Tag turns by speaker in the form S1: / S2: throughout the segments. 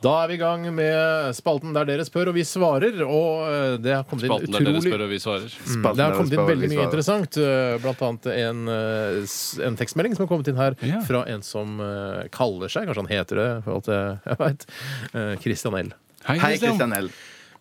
S1: Da er vi i gang med spalten der dere spør og vi svarer. Og eh, det har kommet
S2: Spalten der
S1: inn
S2: dere
S1: utrolig
S2: spør og vi svarer.
S1: Mm, Det har kommet inn veldig mye interessant, eh, blant annet en, eh, s- en tekstmelding som har kommet inn her
S2: Ja.
S1: fra en som eh, kaller seg, kanskje han heter det, for alt jeg- jeg vet, eh, Christian L.
S2: Hei,
S3: Hei, Christian L.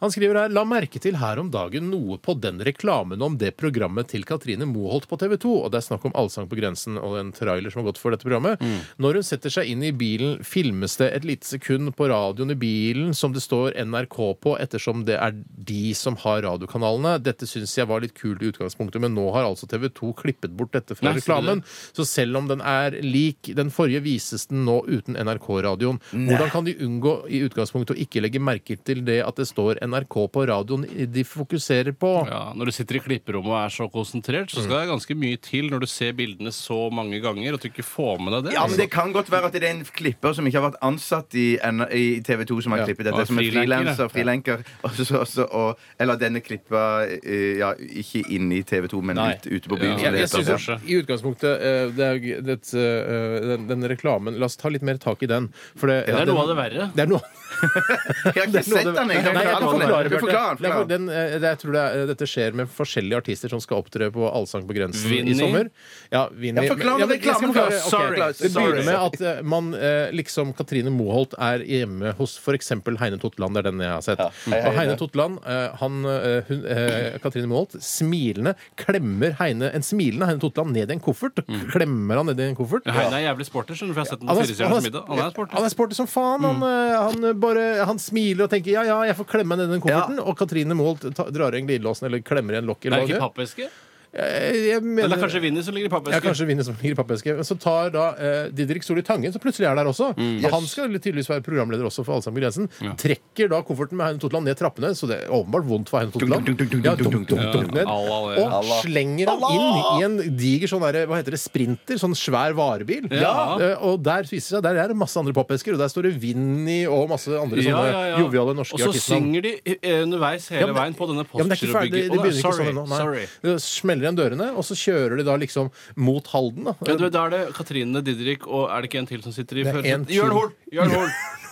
S1: Han skriver her La merke til her om dagen noe på den reklamen om det programmet til Katrine Moholt på TV 2, og det er snakk om Allsang på grensen og en trailer som har gått for dette programmet. Når hun setter seg inn i bilen, filmes det et lite sekund på radioen i bilen som det står NRK på, ettersom det er de som har radiokanalene. Dette syns jeg var litt kult i utgangspunktet, men nå har altså TV 2 klippet bort dette fra
S2: Nei, ser du det?
S1: reklamen. Så selv om den er lik den forrige, vises den nå uten NRK-radioen. Hvordan kan de unngå i utgangspunktet å ikke legge merke til det at det står NRK på radioen de fokuserer på?
S2: Ja, når du sitter i klipperommet og er så konsentrert, så skal
S1: Mm.
S2: det ganske mye til når du ser bildene så mange ganger at du ikke får med deg det.
S3: Ja, men
S1: Altså-
S3: Det kan godt være at det er en klipper som ikke har vært ansatt i, N- i TV 2, som har
S1: Ja.
S3: klippet dette.
S2: Og
S3: Som en
S2: frilenker, ja.
S3: frilanser. frilenker og så- så- så- og- Eller denne klippa eh, ja, ikke inne i TV 2, men
S1: Nei.
S3: ut, ute på
S2: Ja,
S3: byen. som
S1: Jeg,
S3: det
S1: jeg synes
S3: heter.
S2: kanskje.
S1: at I utgangspunktet eh, det er, jo g- det, eh, den, den reklamen La oss ta litt mer tak i den. For det,
S2: Det er
S1: den-
S2: noe av det verre.
S1: Det er noe
S3: Jeg har ikke sett den, jeg.
S1: Nei, jeg kan
S3: Forklar den.
S1: forklare,
S3: Du forklarer
S1: Bjarte.
S3: den,
S1: Det er for-
S3: forklarer den.
S1: den, eh, Jeg tror det er, dette skjer med forskjellige artister som skal opptre på Allsang på grensen
S2: Vinni.
S1: i sommer. Ja, Vinni.
S3: Ja, forklar
S1: Men- ja, men
S3: den
S1: jeg skal
S3: reklamen
S1: forklare.
S3: først.
S1: Ok.
S3: Sorry.
S1: Det begynner
S3: Sorry.
S1: med at eh, man eh, liksom Katrine Moholt er hjemme hos f.eks. Heine Totland. Det er den jeg har sett.
S3: Hei,
S1: Og Heine Totland, eh, han, eh, hun, eh, Katrine Moholt, smilende klemmer Heine, en smilende Heine Totland ned i en koffert. Klemmer han ned i en koffert.
S2: Mm. Heine er jævlig sporty, skjønner du, for jeg har sett den
S1: Han
S2: på
S1: er, han,
S2: Firestjerners middag. Han er
S1: er,
S2: sporty. Mm.
S1: han er sporty som faen. Han, eh, han, bare, han smiler og tenker 'ja, ja, jeg får klemme ned den kofferten'. Og Katrine Moholt ta- drar igjen glidelåsen eller klemmer igjen lokket.
S2: Det
S1: eller
S2: er ikke
S1: hva det er.
S2: pappeske?
S1: Jeg, jeg
S2: Eller
S1: mener,
S2: det er kanskje Vinni som ligger i
S1: ja,
S2: pappeske?
S1: kanskje vinner som ligger i pappeske. Men så tar da eh, Didrik Solli Tangen, som plutselig er der også
S2: Mm.
S1: og Han skal tydeligvis være programleder også for Allsang på grensen. Trekker da kofferten med Heine Totland ned trappene, så det er åpenbart vondt for Heine Totland.
S3: dunk, dunk, dunk,
S1: Ja,
S3: dunk,
S1: dunk, dunk,
S3: dunk,
S1: dunk, ned.
S2: Allah, det.
S1: Og slenger han inn i en diger sånn derre, hva heter det, sprinter, sånn svær varebil.
S2: Ja.
S1: Eh, Og der viser det seg, der er det masse andre poppesker, og der står det Vinni og masse andre
S2: Ja,
S1: sånne
S2: ja, ja.
S1: joviale norske
S2: Og så
S1: artister.
S2: synger de eh, underveis hele
S1: men-
S2: veien på denne
S1: Ja, men det er ikke
S2: postgirobygget.
S1: ferdig, de begynner ikke
S2: sorry,
S1: sånn ennå. nei.
S2: sorry.
S1: De Smeller igjen dørene, og så kjører de da liksom mot Halden.
S2: Ja,
S1: Da.
S2: du, da er det Katrine Didrik, og er det ikke en til som sitter i
S1: Det er en
S2: førersetet?
S1: til.
S2: Jørn Hoel! Jørn Hoel!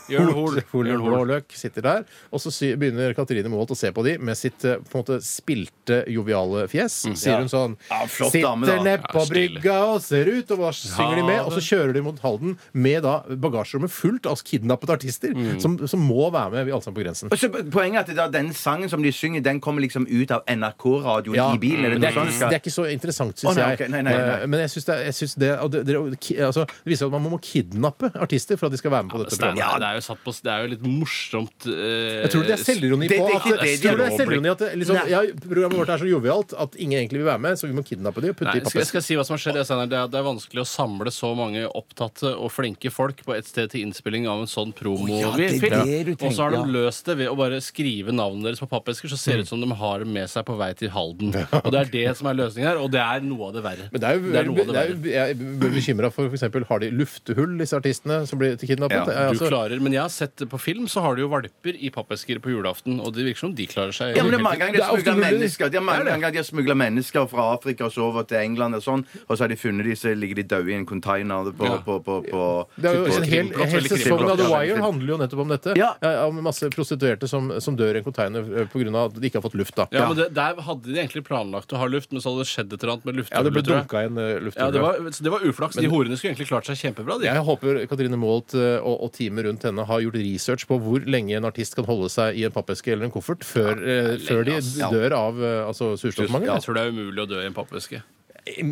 S2: Jørn Hoel.
S1: Hol
S2: Jørn Hoel.
S1: Blåløk sitter der, og så sy- begynner Katrine Moholt å se på de med sitt eh, på en måte spilte, joviale fjes. Sier hun sånn
S3: Mm. Ja, flott dame, da.
S1: Sitter ned på
S2: Ja, stilig.
S1: brygga og ser ut, og hva synger de med? Og så kjører de mot Halden med da bagasjerommet fullt av kidnappede artister som, som må være med i Allsang på grensen.
S3: Mm. Og så Poenget er at det er den sangen som de synger, den kommer liksom ut av NRK-radioen
S1: Ja,
S3: i bilen. Er det,
S1: men det,
S3: noe
S1: er
S3: sånt?
S1: ikke, det er ikke så interessant,
S3: Å,
S1: syns
S3: nei,
S1: jeg.
S3: ok, nei, nei, nei.
S1: Eh, Men jeg syns det, jeg synes det, og det, det, og ki- altså, det viser at man må kidnappe artister for at de skal være med på dette
S2: Stein,
S1: programmet.
S2: det er jo satt på Det er jo litt morsomt eh,
S1: Jeg tror det er selvironi
S3: Det- det
S1: på
S3: er
S1: at,
S3: ikke det de
S1: jeg tror det er
S3: lover.
S1: selvironi at det, liksom,
S3: Nei.
S1: ja, Programmet vårt er så jovialt at ingen egentlig vil være med, så vi må kidnappe de og putte
S2: Nei,
S1: de i
S2: skal, jeg
S1: pappesk.
S2: skal si hva som har skjedd. jeg, Steinar. Det er, det er vanskelig å samle så mange opptatte og flinke folk på et sted til innspilling av en sånn
S3: Å, ja, det er
S2: promofilm.
S3: det du tenker,
S2: og så har de
S3: ja.
S2: løst det ved å bare skrive navnet deres på pappesker, så ser det ut som de har dem med seg på vei til Halden. Og det er det som er løsningen her, og det er noe av det verre.
S1: Men det er jo,
S2: Det er noe av det
S1: det er jo, jeg blir bekymra for f.eks. har de luftehull, disse artistene som blir kidnappet?
S3: Ja, du
S1: Eh,
S2: Du
S1: altså-
S2: klarer, men jeg har sett det på film, så har du jo valper i pappesker på julaften, og det virker som de klarer seg.
S3: Ja, men det er mange ganger de
S1: Det er
S3: har smugla
S1: ofte mulig.
S3: mennesker. De har mange ganger de har smuglet mennesker fra Afrika og så over til England og sånn, og så har de funnet de, så ligger de døde i en container på,
S2: Ja.
S3: på, på, på
S1: Det er jo
S3: på-
S1: en hel,
S2: krimplott,
S1: hel
S2: veldig
S1: sesong av
S3: krimplott,
S1: The
S3: ja,
S1: Wire
S3: veldig.
S1: handler jo nettopp om dette.
S3: Ja.
S1: Eh, Om masse prostituerte som, som dør i en container eh, pga. at de ikke har fått luft. da.
S2: Ja, men det, Der hadde de egentlig planlagt å ha luft, men så hadde det skjedd et eller annet med
S1: Ja, det ble
S2: lufthulet. tror jeg.
S1: dunka i en eh, lufthull.
S2: ja, det, var- så det var uflaks. De horene skulle egentlig klart seg kjempebra. De.
S1: Jeg håper Katrine Moholt eh, og, og teamet rundt henne har gjort research på hvor lenge en artist kan holde seg i en pappeske eller en koffert før, eh, før de
S2: ass.
S1: dør av eh, altså, surstoffmangel.
S2: Jeg tror det er umulig å dø i en pappeske.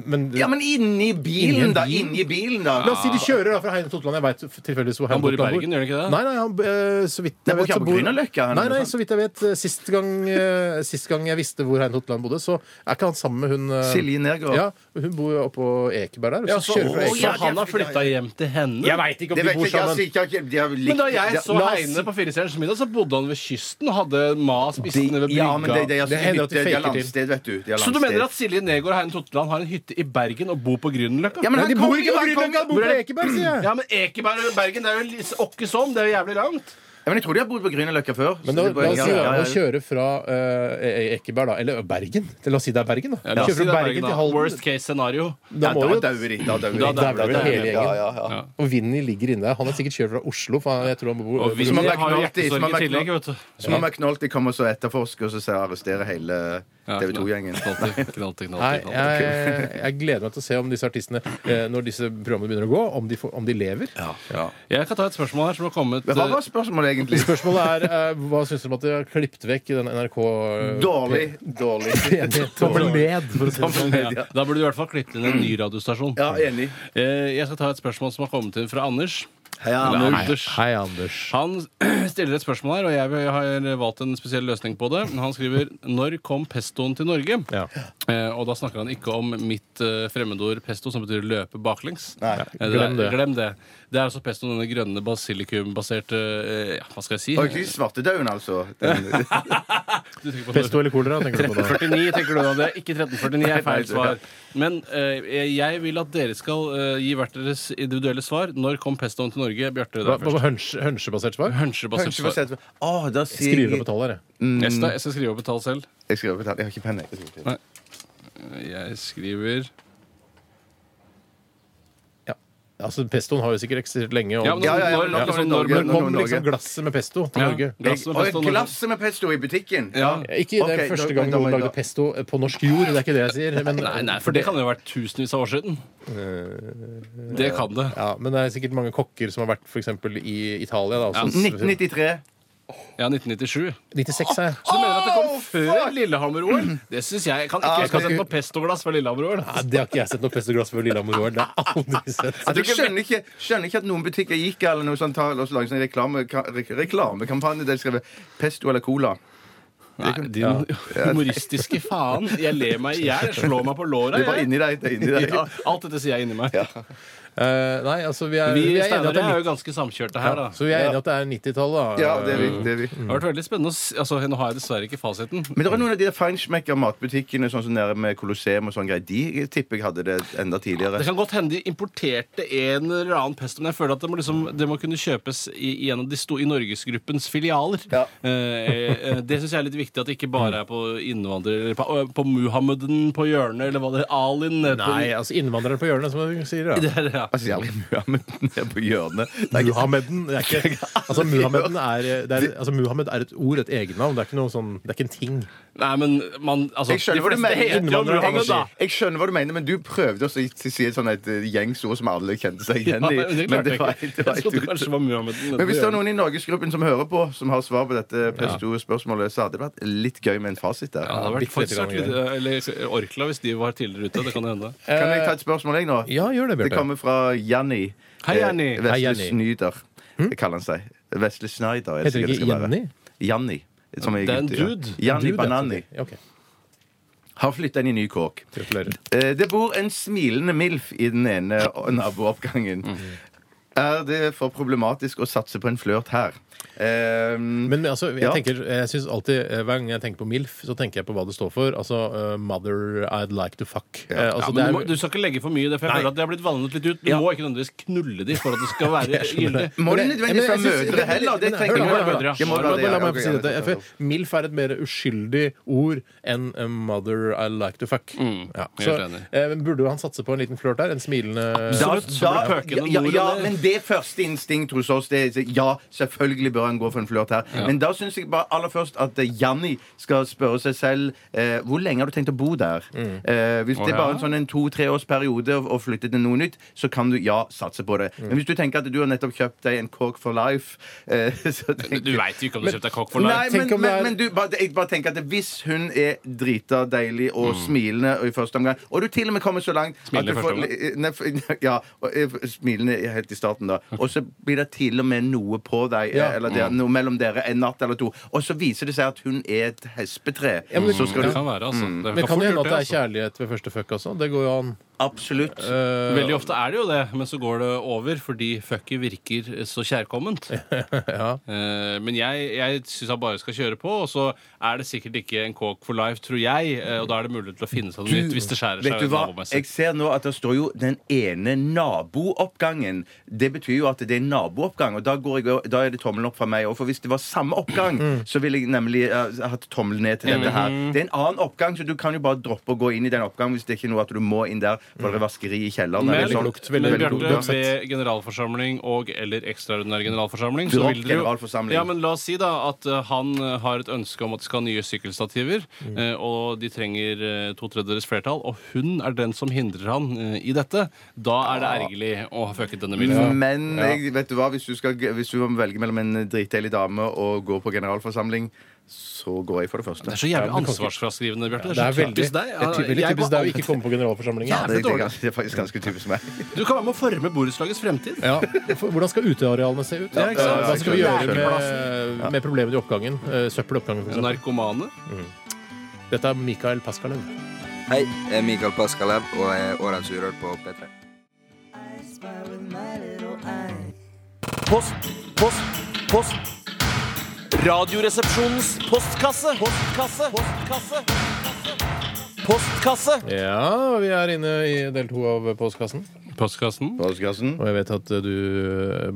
S1: Men,
S3: Ja, men inni bilen, da!
S1: bilen?
S3: Inni bilen, da!
S1: La oss si de kjører da fra Heine Totland. Jeg vet tilfeldigvis hvor Heine
S2: Han bor i
S1: Totland
S2: Bergen, gjør han ikke det?
S1: Nei, nei, han, eh, så vidt
S3: Nei,
S1: jeg vet,
S3: bor ikke
S1: så
S3: han på Grünerløkka,
S1: Nei,
S3: han,
S1: nei,
S3: eller noe
S1: så vidt jeg vet, eh, sist gang, eh, sist gang jeg visste hvor Heine Totland bodde, så er ikke han sammen med hun eh,
S3: Silje Nergård.
S1: Ja, hun bor jo oppå Ekeberg
S2: Ja,
S1: der. Og så,
S2: så,
S1: kjører fra
S2: å,
S1: Ekeberg.
S2: ja, han har flytta hjem til henne?
S1: Jeg veit ikke om
S3: Det
S1: de
S3: vet
S1: bor
S3: ikke, jeg, altså,
S1: sammen.
S3: ikke, ikke, de har likt-
S2: Men da jeg
S3: de-
S2: så
S1: La oss-
S2: Heine på Firestjerners middag, så bodde han ved kysten og hadde mas spissende ved
S3: de- Ja, men
S2: brygga.
S3: det, det, er-
S1: Det hender at de
S3: de har
S1: faker til.
S3: landsted, vet du. De har
S2: så du
S3: landsted.
S2: mener at Silje Negård og Heine Totland har en hytte i Bergen og bor på Grünerløkka?
S3: Ja, men
S1: Nei, de
S3: han
S1: bor
S3: kommer
S1: ikke
S3: jo,
S1: på
S3: han
S1: Grünerløkka, de
S3: kommer-
S1: bor på Ekeberg, sier jeg.
S2: Ja, men Ekeberg og Bergen, det er jo litt- åkke som. Det er jo jævlig langt.
S3: Ja, men jeg tror de har bodd på Grünerløkka før. så
S1: Men da,
S3: det er
S1: la
S3: bare-
S1: oss
S3: ja,
S1: si da,
S3: ja, ja.
S1: å kjøre fra eh, Ekeberg, da, eller Bergen til- La oss si det er Bergen, da.
S2: Ja, la oss
S1: kjøre
S2: si det
S1: fra
S2: er
S1: Bergen
S2: da.
S1: til Halden.
S2: Worst case scenario.
S1: Da må
S3: ja,
S1: jo
S3: da dauer de. Da dauer
S2: Da
S3: de.
S2: dauer
S1: dauer vel hele
S3: Ja,
S1: gjengen.
S3: ja, ja.
S2: Ja.
S1: Og Vinny ligger inne. Han er sikkert kjørt fra Oslo. For han- jeg tror han bor
S2: Og vi
S3: Som om
S2: har jo
S3: McNulty, som om
S2: hjertesorg i
S3: McNulty.
S2: tillegg, vet du.
S3: Så må McNulty komme og så etterforske og så se- arrestere hele
S2: Ja,
S3: TV 2-gjengen.
S2: Knalter, knalter,
S1: Nei,
S2: knalter, knalter.
S1: jeg, jeg gleder meg til å se om disse artistene, eh, når disse programmene begynner å gå, om de, får, om de lever.
S2: Jeg kan ta et spørsmål her som har kommet eh,
S3: Hva var spørsmålet egentlig?
S1: Spørsmålet er eh, hva syns du om at de har klippet vekk den NRK
S3: Dårlig. Dårlig.
S1: Tommel ned! for å si det sånn.
S2: Ja, Da burde du i hvert fall klippet inn en ny radiostasjon.
S3: Ja, enig.
S2: Eh, Jeg skal ta et spørsmål som har kommet inn fra Anders.
S3: Heia,
S2: Eller
S3: Anders.
S2: Anders.
S1: Hei, Anders.
S2: Han stiller et spørsmål her, og jeg har valgt en spesiell løsning på det. Han skriver 'Når kom pestoen til Norge?'
S1: Ja.
S2: Eh, og da snakker han ikke om mitt eh, fremmedord pesto, som betyr løpe baklengs.
S3: Nei.
S2: Eh,
S1: Glem det.
S2: er, glem det. Det er altså pestoen, denne grønne basilikumbaserte eh, Ja, hva skal jeg si?
S3: Og ikke svartedauden, altså. Den,
S2: Du tenker på-
S1: Pesto eller kolera, tenker du på da?
S2: 1349 tenker du da, det er ikke 1349 er
S3: Nei,
S2: feil
S3: nei,
S2: svar. Men eh, jeg vil at dere skal eh, gi hvert deres individuelle svar. Når kom pestoen til Norge? Bjarte, det
S1: Hva,
S2: er
S1: hva,
S2: først.
S1: hønsje- Hønsjebasert svar?
S2: Hønsjebasert Mm. svar.
S3: Kanskje oh, da sier
S1: Skriver
S3: jeg
S1: og betaler, jeg.
S2: Jeg skal, jeg skal skrive og betale selv.
S3: Jeg skriver og betaler. Jeg har ikke penn. jeg.
S2: Jeg skriver
S1: Ja. Altså, pestoen har jo sikkert eksistert lenge. Og
S2: Ja, men
S3: Ja, ja, ja,
S2: når,
S3: nå
S2: altså,
S3: kommer
S2: når,
S3: Norge.
S1: Når
S2: når,
S1: kom
S3: Norge.
S1: liksom glasset med pesto til
S2: Ja.
S1: Norge?
S2: Glasset med pesto
S3: Og et
S2: og Norge.
S3: glass med pesto i butikken!
S2: Ja.
S1: Ikke, det er
S3: Ok,
S1: første
S3: da-
S1: gang
S3: da-
S1: noen
S3: da-
S1: lagde pesto på norsk jord. Det er ikke det jeg sier. Men,
S2: Nei, nei, for det Eh, kan jo ha vært tusenvis av år siden. Det kan det.
S1: ja, men det er sikkert mange kokker som har vært for eksempel, i Italia. Da, også.
S3: 1993.
S2: Ja, 1997.
S1: 96 er jeg.
S2: Så du mener at det kom før Lillehammer-OL? Det syns jeg. Jeg kan ikke huske å ha sett noe pestoglass fra Lillehammer-OL.
S1: Nei, det har ikke jeg sett noe pestoglass før Lillehammer OL. Det har jeg aldri sett.
S3: Altså, jeg skjønner ikke, skjønner ikke at noen butikker gikk eller noe sånt, og så laget en reklame, ka- re- reklamekampanje der de skrev 'Pesto eller cola'.
S2: Nei, din humoristiske faen. Jeg ler meg i hjel. Jeg slår meg på låra.
S3: Det var
S2: jeg.
S3: inni deg. Det er inni deg.
S2: Ja, Alt dette sier jeg inni meg.
S1: Eh, nei, altså, vi er,
S2: Vi
S1: vi er enige at
S2: steinere
S1: det
S2: er
S1: er
S2: jo ganske samkjørte her, da.
S1: 90 Så vi er enige at det er 90-tallet, da.
S3: Ja, det er vi. Det er vi.
S2: Det har vært veldig spennende å s- altså, Nå har jeg dessverre ikke fasiten.
S3: Men det er noen av de feinschmecker-matbutikkene sånn som nede med Colosseum og sånn greier. De tipper jeg hadde det enda tidligere.
S2: Det kan godt hende de importerte en eller annen pesto, men jeg føler at det må, liksom, det må kunne kjøpes i, i en av de sto i Norgesgruppens filialer.
S3: Ja.
S2: Eh, eh, det syns jeg er litt viktig, at det ikke bare er på innvandrere eller på, øh, på Muhammeden på hjørnet, eller hva det er, Alin eh, på-
S1: Nei, altså innvandreren på hjørnet, som du sier. Da.
S2: Det er det, ja.
S3: Altså, jævlig Muhammed nede på hjørnet. Det er ikke-
S1: Muhammeden det er ikke, altså, Muhammeden er, det er, altså, Muhammed er et ord, et egennavn. Det er ikke noe sånn, det er ikke en ting.
S2: Nei, men man altså,
S3: Jeg skjønner hva du mener.
S2: heter jo Muhammed, da.
S3: Jeg, jeg skjønner hva du mener, men du prøvde også å si et sånn et eh, gjengs ord som alle kjente seg igjen
S2: Ja,
S3: i.
S2: men det
S3: men
S2: klarte
S3: det
S2: jeg
S3: var,
S2: ikke.
S3: det var
S2: Jeg trodde
S3: helt
S2: kanskje
S3: ute.
S2: det var Muhammeden.
S3: Men hvis det er noen i Norgesgruppen som hører på, som har svar på dette pesto-spørsmålet, så hadde det vært litt gøy med en fasit der.
S2: ja, det hadde vært
S1: Bitte lite
S2: faktisk vært
S1: grann
S2: litt, eh, Eller Orkla, hvis de var tidligere ute. Det kan hende.
S3: Kan jeg
S2: Eh,
S3: ta et spørsmål, jeg, nå?
S1: Ja, gjør det,
S3: Det
S1: Bjarte.
S3: kommer fra Janni.
S2: Hei, Janni.
S3: Eh,
S1: Hei,
S3: Vesle
S1: Janni. Hm?
S3: Snyder, kaller han seg. Vesle Snyder.
S1: Heter
S3: er
S1: det
S3: sikkert
S1: ikke
S3: skal være.
S1: Janni?
S3: Janni. som
S2: Det er en
S3: gutt, ja.
S2: dude.
S1: Du,
S3: Janni
S1: det er
S3: Banani.
S1: sant, det. Ja, ok.
S3: Har flytta inn i ny kåk.
S1: Gratulerer.
S3: Eh, Det bor en smilende MILF i den ene nabooppgangen.
S1: Mm.
S3: Er det for problematisk å satse på en flørt her? Eh,
S1: Men altså, jeg
S3: Ja.
S1: tenker, jeg synes alltid eh, Hver gang jeg tenker på MILF, så tenker jeg på hva det står for. Altså eh, Mother I'd Like To Fuck. Eh,
S2: Ja,
S1: altså,
S2: men du, må,
S1: det er-
S2: du skal ikke legge for mye i det, for jeg
S1: Nei.
S2: føler at det har blitt vannet litt ut. Du
S1: Ja.
S2: må ikke nødvendigvis knulle de for at det skal være gyldig.
S3: må du
S1: Men jeg- Mm.
S3: nødvendigvis
S1: men
S3: ha
S1: jeg synes-
S3: mødre heller? Det
S1: Men-
S3: tenker
S1: hør da, hør
S3: jeg.
S1: da,
S2: mødre, ja.
S3: Det må
S1: hør
S3: være
S1: da,
S3: det,
S1: La
S3: ja,
S1: meg
S3: ok,
S1: få si
S3: ja,
S1: dette.
S3: nettopp.
S1: For MILF er et mer uskyldig ord enn a mother I like to fuck. Ja,
S2: helt
S1: så
S2: enig.
S1: eh, men burde jo han satse på en liten flørt der? En smilende
S2: Da- Eh, Så blir pøkene
S3: ja, ja,
S2: mor,
S3: ja,
S2: eller?
S3: men det første instinkt hos oss det er ja, selvfølgelig bør han gå for en flørt her. Men da syns jeg bare aller først at eh, Janni skal spørre seg selv eh, hvor lenge har du tenkt å bo der.
S2: Mm.
S3: Eh, hvis det er bare en sånn en to-tre års periode å flytte til noe nytt, så kan du ja, satse på det.
S2: Mm.
S3: Men hvis du tenker at du har nettopp kjøpt deg en Cork for life, eh, så tenker
S2: Du veit jo ikke om du kjøpte kokk for
S3: Nei,
S2: life.
S3: men,
S1: Tenk om
S3: men,
S1: det er-
S3: men du, bare, jeg bare tenker at hvis hun er drita deilig og
S1: Mm.
S3: smilende og i første omgang Og du til og med kommer så langt at
S2: Smilende
S3: du
S2: i
S3: får- eh,
S2: første
S3: Nei, for- Ja, og, eh, smilende i- helt i starten, da. Og så blir det til og med noe på deg, eh,
S1: Ja. Mm.
S3: eller det er noe mellom dere en natt eller to. Og så viser det seg at hun er et hespetre.
S1: men-
S3: så skal
S2: Det
S3: du
S2: kan være, altså. Det
S1: Mm. Men
S2: kan
S1: kan
S2: fort
S1: det hende
S2: gjort altså.
S1: at det
S2: det,
S1: er kjærlighet ved første fuck også? Det går jo an.
S3: Absolutt.
S2: Veldig ofte er det jo det, men så går det over fordi fucket virker så kjærkomment. Eh, Men jeg, jeg syns han bare skal kjøre på, og så er det sikkert ikke en kåk for life, tror jeg. eh, Og da er det mulig til å finne seg noe nytt hvis det skjærer
S3: Mm. Vet du
S2: seg
S3: hva?
S2: nabomessig.
S3: Jeg ser nå at det står jo den ene nabooppgangen. Det betyr jo at det er en nabooppgang, og da, går jeg, da er det tommelen opp fra meg òg. For hvis det var samme oppgang, så ville jeg nemlig eh, hatt tommelen ned til dette her. Det er en annen oppgang, så du kan jo bare droppe å gå inn i den oppgangen hvis det er ikke er noe at du må inn der for det er vaskeri i kjelleren.
S2: Men,
S3: eller sånn.
S1: lukt, veldig
S2: men
S1: veldig
S3: lukt,
S2: Bjarte,
S3: uansett.
S2: ved generalforsamling og eller ekstraordinær generalforsamling så
S3: Dropp
S2: vil dere jo,
S3: generalforsamling.
S2: ja, men La oss si da at eh, han eh, har et ønske om at de skal ha nye sykkelstativer,
S1: Mm.
S2: eh, og de trenger eh, to tredjedels flertall, og hun er den som hindrer han eh, i dette. Da er det ergerlig å ha fucket denne bilen.
S1: Mm.
S3: Men jeg, vet du hva, hvis du, skal, hvis du må velge mellom en dritdeilig dame og gå på generalforsamling, så går jeg for det første.
S2: Det er så
S1: Ja,
S2: jævlig
S1: men du kan ikke-
S2: ansvarsfraskrivende, Bjarte.
S1: Det er
S2: så
S1: veldig, det
S2: deg.
S1: er ty- veldig
S2: Jeg
S1: typisk
S2: må
S1: deg å ikke komme på generalforsamlingen.
S3: det, det, er
S2: dårlig.
S3: ganske- det er faktisk ganske typisk meg.
S2: aldri- Du kan være med å forme borettslagets fremtid.
S1: Ja. For- Hvordan skal utearealene se ut?
S2: Ja, ikke sant?
S1: Hva skal vi gjøre
S2: Lekeplassen.
S1: med, med problemene i oppgangen? Eh, Søppel i oppgangen, for eksempel.
S2: Narkomane.
S1: Dette er Mikael Paskalev.
S4: Hei, jeg er Mikael Paskalev og jeg er Årets Urørt på P3.
S5: Post, post, post. Radioresepsjonens postkasse. Postkasse. Postkasse. Postkasse.
S1: Ja, vi er inne i del to av Postkassen.
S2: Postkassen.
S3: Postkassen.
S1: Og jeg vet at du,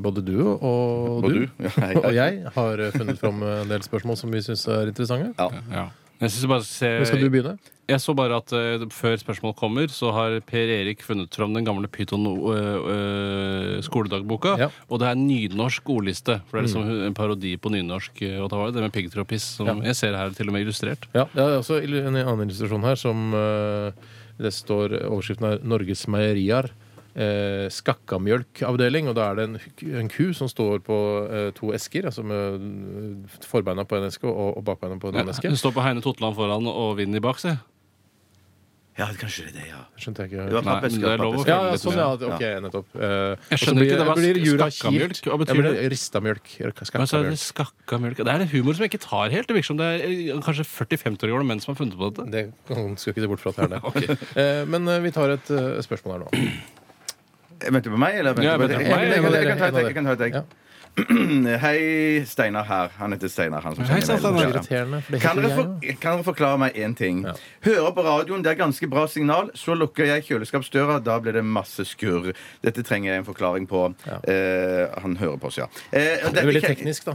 S1: både du og
S3: Og
S1: du,
S3: du. Ja, hei, hei.
S1: og jeg har funnet fram en del spørsmål som vi syns er interessante.
S2: Ja. Jeg synes bare
S1: Men Skal du
S2: se,
S1: begynne?
S2: Jeg så bare at eh, før spørsmål kommer, så har Per Erik funnet fram den gamle Pyton eh, eh, skoledagboka.
S1: Ja. Mm.
S2: Og det er nynorsk ordliste. For det er liksom en parodi på nynorsk. eh, Og da var det det med piggtråd og piss, som jeg ser her til og med illustrert.
S1: Ja, Det er også ill- en annen illustrasjon her som eh, det står Overskriften er 'Norges meierier'. Eh, Skakkamjølkavdeling, og da er det en, en ku som står på eh, to esker. Altså med eh, forbeina på en eske og, og bakbeina på en annen eske.
S2: Det står på Heine Totland foran og Vinni bak, se.
S3: Ja, kanskje det er det, ja.
S1: Skjønte jeg
S3: Det
S1: ikke.
S3: var
S2: Nei, men
S3: pappeske,
S2: det er lov å
S1: Ja, ja,
S3: pappeske.
S1: sånn, ja. Ok, nettopp. Eh, og så
S2: skjønner
S1: blir-
S2: ikke, det var
S1: blir jura
S2: skakkamjølk.
S1: kilt.
S2: Hva betyr
S1: Ja, men
S2: det?
S1: Rista
S2: Men
S1: mjølk.
S2: så er
S1: Skakkamjølk.
S2: det skakka mjølk. Det er det humor som jeg ikke tar helt. Det virker som det er eh, kanskje 40-50 år gamle menn som har funnet på dette.
S1: Det kan, skal ikke se bort fra at det er det. Eh, Men eh, vi tar et eh, spørsmål her nå.
S3: Venter du på meg, eller? venter
S2: Ja,
S3: du
S2: jeg
S3: på deg?
S2: venter på
S3: Jeg- jeg-
S1: meg.
S3: jeg- jeg kan ta et egg, Jeg kan ta et egg.
S1: Ja.
S3: Hei, Steinar her. Han heter Steinar, han som
S2: Hei, Steinar.
S3: sender
S1: Det er
S3: mailen. Ja.
S1: irriterende, for det
S3: Kan
S1: heter
S3: dere,
S1: jeg
S3: for,
S1: jo.
S3: kan dere forklare meg én ting? Hører på radioen, det er ganske bra signal. Så lukker jeg kjøleskapsdøra, da blir det masse skurr. Dette trenger jeg en forklaring på. Eh, han hører på oss, ja. Eh,
S1: Det er
S3: og dette
S1: veldig
S3: kan-
S1: teknisk, da.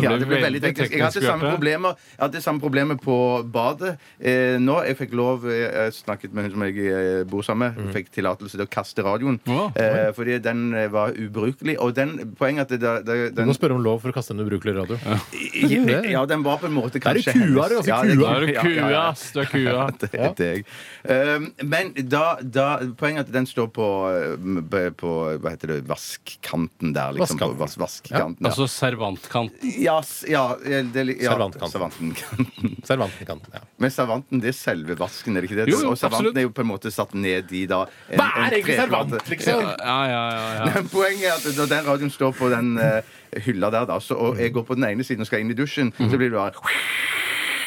S3: Ja, det ble veldig teknisk. Jeg hadde
S2: teknisk,
S3: samme
S2: Bjarte.
S3: problemer, jeg hadde samme problemet på badet eh, nå. Jeg fikk lov eh, Jeg snakket med hun som jeg eh, bor sammen med. Hun Fikk tillatelse til å kaste radioen.
S2: Wow.
S3: Eh, fordi den eh, var ubrukelig. Og den, poenget er at det, det,
S1: Du
S3: den
S1: må spørre om lov for å kaste en ubrukelig radio. det.
S3: Ja, den var på en måte
S1: er
S3: kanskje
S1: kua, det er altså kua.
S2: Da er du
S3: ja, ja,
S2: kua,
S3: ja.
S2: ass. Du er kua.
S3: Det heter jeg. Um, men da, da Poenget er at den står på, um, på Hva heter det? Vaskkanten der, liksom.
S1: Vaskkanten.
S3: På vas vaskkanten, ja.
S2: Altså servantkant.
S3: Ja, s- ja, det, li- ja.
S1: Servantkanten.
S3: Servantkanten.
S1: Servanten kan ja.
S3: Men servanten det er selve vasken, er det ikke det?
S2: Jo, jo,
S3: og servanten
S2: absolutt.
S3: er jo på en måte satt ned i da en- en treplate.
S1: liksom?
S2: Ja, ja, ja, ja.
S3: Men poenget er at når den radioen står på den eh, hylla der, da, så, og jeg går på den ene siden og skal inn i dusjen,
S1: Mhm.
S3: så blir det bare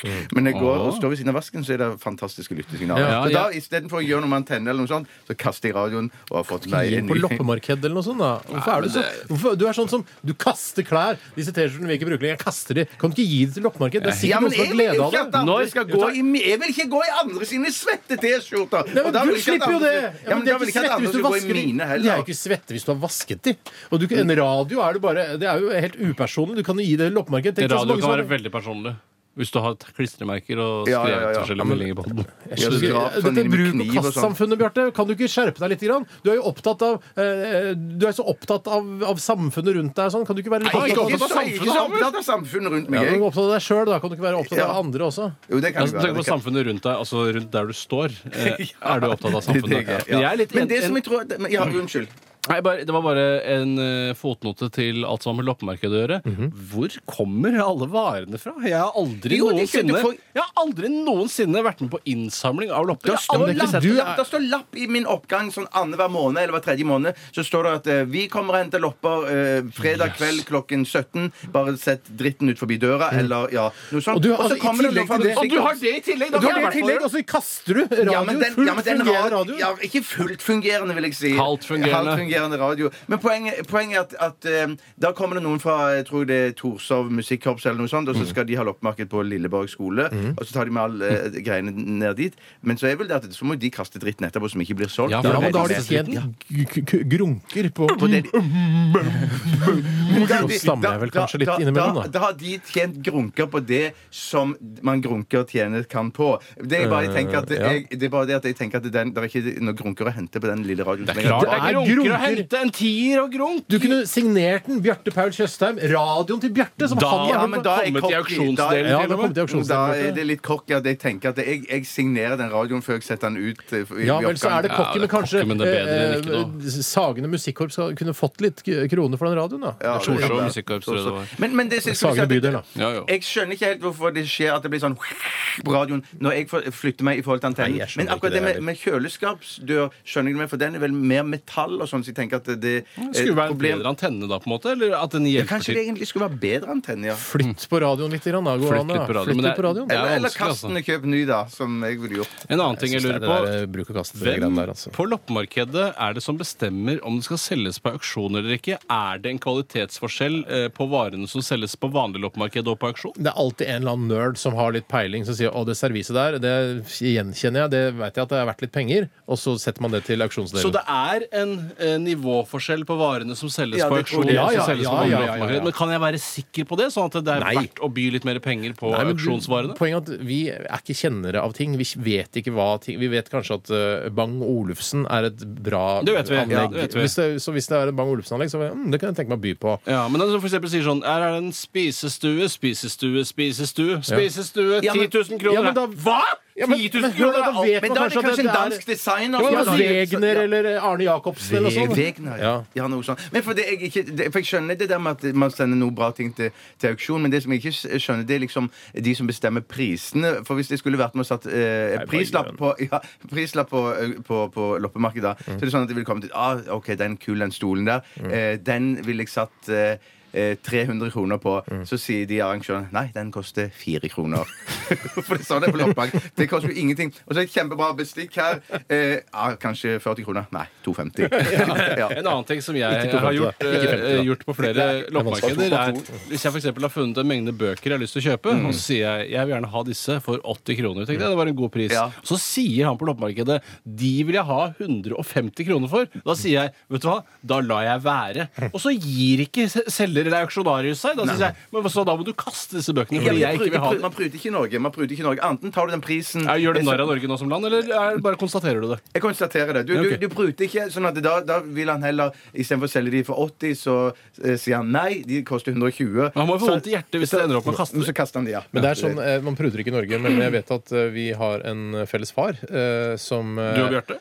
S1: Mm.
S3: Men jeg går og står ved siden av vasken, så er det fantastiske lyttesignaler.
S2: Ja,
S3: så
S2: ja.
S3: da, Istedenfor å gjøre noe med antenne eller noe sånt, så kaster jeg radioen og har fått meg en
S1: På loppemarked eller noe sånt, da. Hvorfor er du så hvorfor, Du er sånn som Du kaster klær! Disse T-skjortene vil jeg ikke bruke lenger. Jeg kaster de. Kan du ikke gi de til loppemarked? Det er
S3: Ja,
S1: sikkert
S3: men
S1: noen som
S3: jeg
S1: har
S3: vil jo
S1: glede av
S3: ikke at
S1: det.
S3: andre
S2: Når-
S3: skal gå i Jeg vil ikke gå i andre sine svette T-skjorter!
S1: Nei,
S3: Og
S1: men
S3: da
S1: du
S3: vil jeg ikke at
S1: slipper jo
S3: andre-
S1: det!
S3: Ja, men
S1: de
S3: da
S1: er ikke
S3: vil jeg ikke at
S1: svette
S3: andre
S1: hvis du
S3: skal gå i
S1: vasker de. De
S3: mine
S1: er
S3: heller. Mm.
S1: jo ikke svette hvis du har vasket de. Og du, en radio er det bare Det er jo helt upersonlig. Du kan jo gi det i loppemarked. Tenk så
S2: Radio
S1: mange
S2: kan
S1: som
S2: være
S1: har-
S2: veldig personlig. Hvis du har t- klistremerker og skrevet
S3: Ja, ja, ja, ja. Ja,
S2: forskjellige
S3: men-
S2: meldinger på den.
S1: Jeg skjønner
S3: Ja,
S1: ikke.
S3: drap, sånn
S1: Dette
S3: inn med
S1: bruk- og
S3: kniv og sånn.
S1: kastsamfunnet, Bjarte, kan du ikke skjerpe deg litt? Grann? Du er jo opptatt av eh, Du er så opptatt av, av samfunnet rundt deg. og Sånn. Kan du ikke være litt
S3: Jeg er
S1: opptatt
S3: ikke
S1: av
S3: så- jeg er ikke så opptatt av samfunnet rundt meg.
S1: ja,
S3: jeg.
S1: du er opptatt av deg sjøl, da. Kan du ikke være opptatt av
S3: Ja.
S1: andre også?
S3: Jo, det kan
S2: Altså,
S3: jeg
S2: tenk
S3: være.
S2: på
S3: det kan-
S2: samfunnet rundt deg, altså rundt der du står. eh, Er
S3: Ja.
S2: du opptatt av
S3: Det er
S2: samfunnet?
S3: det jeg er,
S2: Men
S3: ja.
S2: jeg er litt
S3: Men det
S2: en-
S3: som jeg tror men- Ja, unnskyld.
S2: Nei, bare, Det var bare en eh, fotnote til alt som har med loppemarked å gjøre. Hvor kommer alle varene fra? Jeg har aldri
S3: Mhm. Jo, det skjønner
S2: noensinne
S3: du, for-
S2: Jeg har aldri noensinne vært med på innsamling av lopper. Jeg har
S1: men det
S2: aldri
S1: er ikke
S2: sett
S1: du
S2: det.
S1: er-
S3: Lapp, der står lapp i min oppgang sånn annenhver måned eller hver tredje måned. Så står det at eh, vi kommer og henter lopper eh, fredag kveld klokken 17. Bare sett dritten ut forbi døra, eller ja, noe
S1: Mm. Og
S3: sånt.
S1: du har altså i
S3: kommer det
S1: tillegg
S3: noe
S1: til det-
S3: fra
S1: Og du har
S3: musikklopp.
S2: i tillegg!
S1: Du har det i tillegg, og så kaster du radioen.
S3: Ja, men den,
S1: fullt
S3: ja, men den
S1: fungerende
S3: radio,
S1: radio.
S3: ja, ikke fullt fungerende, vil jeg si.
S2: Halvt fungerende.
S3: Halvt fungerende radio. Men poenget, poenget er at, at eh, da kommer det noen fra jeg tror det er Torshov Musikkorps eller noe
S2: Mm.
S3: sånt, og så skal de ha loppemarked på Lilleborg skole, og så tar de med alle eh, greiene ned dit. Men så er vel det at så må de kaste dritten etterpå som ikke blir solgt.
S2: Ja, for
S1: Ja, men da har de
S2: det-
S1: tjent g- g- g- grunker på
S3: på det de-
S1: Nå stammer jeg vel kanskje litt innimellom,
S3: da.
S1: da.
S3: Da har de tjent grunker på det som man grunker tjener kan på. Det er bare, jeg tenker at
S1: Eh, ja.
S3: jeg, det er bare det at jeg tenker at den, det er ikke noen grunker å hente på den lille radioen. Det
S1: klart
S2: Det er
S1: Det er
S2: grunker å
S1: grunker.
S2: hente en tier og grunk.
S1: Du kunne signert den, Bjarte Paul Tjøstheim. Radioen til Bjarte, som
S2: Da-
S1: han
S2: Ja,
S1: har
S2: men
S1: hørt
S2: da-
S1: på.
S3: er jeg
S2: kommet i
S3: cocky.
S2: auksjonsdelen
S3: Da er-
S1: Ja, da kom det i auksjonsdelen,
S3: Da
S1: Bjarte.
S3: er det litt cocky at jeg tenker at jeg, jeg signerer den radioen før jeg setter den ut. eh, i-
S1: Ja
S3: i
S1: vel, så
S3: oppgangen.
S1: er det cocky,
S2: Ja, det
S1: men
S2: er
S1: kanskje
S2: cocky, men det er bedre enn ikke
S1: eh, Sagene Musikkorps skal- kunne fått litt k- kroner for den radioen, da.
S3: Ja,
S1: Kanskje
S2: Torshov
S3: ja, ja.
S2: Musikkorps, tror jeg det var.
S3: Men, men det, jeg, skulle si
S1: Sagene
S3: at-
S1: bydel, da.
S2: Ja, ja.
S3: jeg skjønner ikke helt hvorfor det skjer at det blir sånn på radioen når jeg får- flytter meg i forhold til antennen.
S1: Nei, jeg skjønner
S3: Men akkurat
S1: ikke
S3: det
S1: det
S3: med,
S1: heller.
S3: med kjøleskapsdør skjønner jeg det med, for den er vel mer metall og sånn, så jeg tenker at det
S2: Det skulle være en bedre antenne, da, på en måte? Eller at den
S3: Ja,
S2: hjelper
S3: kanskje
S2: til.
S3: det egentlig skulle være bedre antenne, ja.
S1: Flytt på radioen litt, grann, da. Går
S2: Flytt
S1: an, da.
S2: litt på radioen,
S1: Flytt
S2: men
S1: litt på
S2: det er-
S1: radioen.
S2: Ja,
S3: Eller, eller
S2: vanskelig,
S3: kast
S2: altså.
S3: den og kjøp ny, da, som jeg ville gjort.
S2: En annen ting jeg lurer på
S1: der, eh, bruk og kaste det greiene
S2: Hvem
S1: der, altså.
S2: på loppemarkedet er det som bestemmer om det skal selges på auksjon eller ikke? Er det en kvalitetsforskjell eh, på varene som selges på vanlig loppemarked og på auksjon?
S1: Det er alltid en eller annen nerd som har litt peiling, som sier 'Å, det serviset der, det gjenkjenner jeg, det vet jeg at det er verdt litt penger', og så setter man det til auksjonsdelen.
S2: Så det er en eh, nivåforskjell på varene som selges
S3: Ja,
S2: på
S3: det tror
S2: auksjon
S1: jeg.
S2: og
S1: Ja, ja,
S2: som selges
S1: ja,
S2: på vanlig
S1: ja, ja, ja.
S2: loppemarked? Men kan jeg være sikker på det, sånn at det er
S1: Nei.
S2: verdt å by litt mer penger på
S1: Nei, men du-
S2: auksjonsvarene?
S1: Poenget er at vi er ikke kjennere av ting. Vi vet ikke hva ting Vi vet kanskje at eh, Bang Olufsen er et bra
S2: Det vet vi, ja,
S1: anlegg.
S2: det vet vi.
S1: Hvis det, så hvis det er et Bang Olufsen-anlegg, så mm, det kan jeg tenke meg å by på.
S2: Ja, men altså for eksempel sier sånn Her er det en spisestue, spisestue, spisestue. Spisestue, 10
S3: Ja, men-
S2: 000 kroner!
S1: Ja, men da-
S2: Hva?!
S1: Ja, men-
S2: 10
S1: men
S2: 000
S1: hør
S2: kroner!
S1: da, da vet
S3: Men
S1: man
S3: da er det
S1: kanskje at
S3: kanskje
S1: det
S3: en
S1: er-
S3: dansk designer
S1: Ja, men
S3: som
S1: altså,
S2: altså,
S3: har laget-
S1: Wegner eller Arne Jacobsen eller sånn. noe sånt.
S3: Vegner, ja.
S1: Ja.
S3: sånn. ja noe sånt. Men for, det jeg ikke, det, for jeg skjønner det der med at man sender noe bra ting til, til auksjon, men det som jeg ikke s- skjønner, det er liksom de som bestemmer prisene. For hvis det skulle vært med å satt eh,
S1: bare gjør
S3: prislapp
S1: Mm.
S3: på, ja, prislapp på, eh, på, på loppemarkedet, da, så er det sånn at det ville kommet ut ah, OK, den kul, den stolen der, eh, den ville jeg satt eh, eh, 300 kroner på,
S1: Mm.
S3: så sier de arrangørene nei, den koster fire kroner. For det sa det på loppemarkedet. Det koster jo ingenting. Og så er det et kjempebra bestikk her. Eh, ah, kanskje 40 kroner. Nei, 250. ja.
S2: En annen ting som jeg
S1: Ikke 250,
S2: har gjort,
S1: da. Ikke 50, da.
S2: eh, gjort på flere loppemarkeder, er
S1: vanskelig.
S2: hvis jeg for eksempel har funnet en mengde bøker jeg har lyst til å kjøpe, og så sier jeg jeg vil gjerne ha disse for 80 kroner. Tenkte jeg, det var en god pris.
S3: Ja.
S2: Så sier han på loppemarkedet de vil jeg ha 150 kroner for. Da sier jeg vet du hva, da lar jeg være. Og så gir ikke se- selger eller auksjonarius seg. Da sier jeg men så da må du kaste disse bøkene
S3: Ja, men
S2: fordi jeg
S3: pruter-
S2: ikke vil ha
S3: pruter-
S2: dem.
S3: Man pruter ikke i Norge. Man pruter ikke i Norge. Enten tar du den prisen
S2: Ja, Gjør du narr av Norge nå som land, eller er, bare konstaterer du det?
S3: Jeg konstaterer det. Du,
S2: Ok.
S3: du, du pruter ikke. sånn at da, da vil han heller Istedenfor å selge de for 80, så eh, sier han nei, de koster
S2: Men
S3: 120.
S2: han må jo få
S3: Så-
S2: vondt i hjertet hvis det ender opp med å kaste
S3: Men Så kaster han de, ja.
S1: Men det er sånn, eh, Man pruter ikke i Norge, men jeg vet at eh, vi har en felles far eh, som eh,
S2: Du og Bjarte?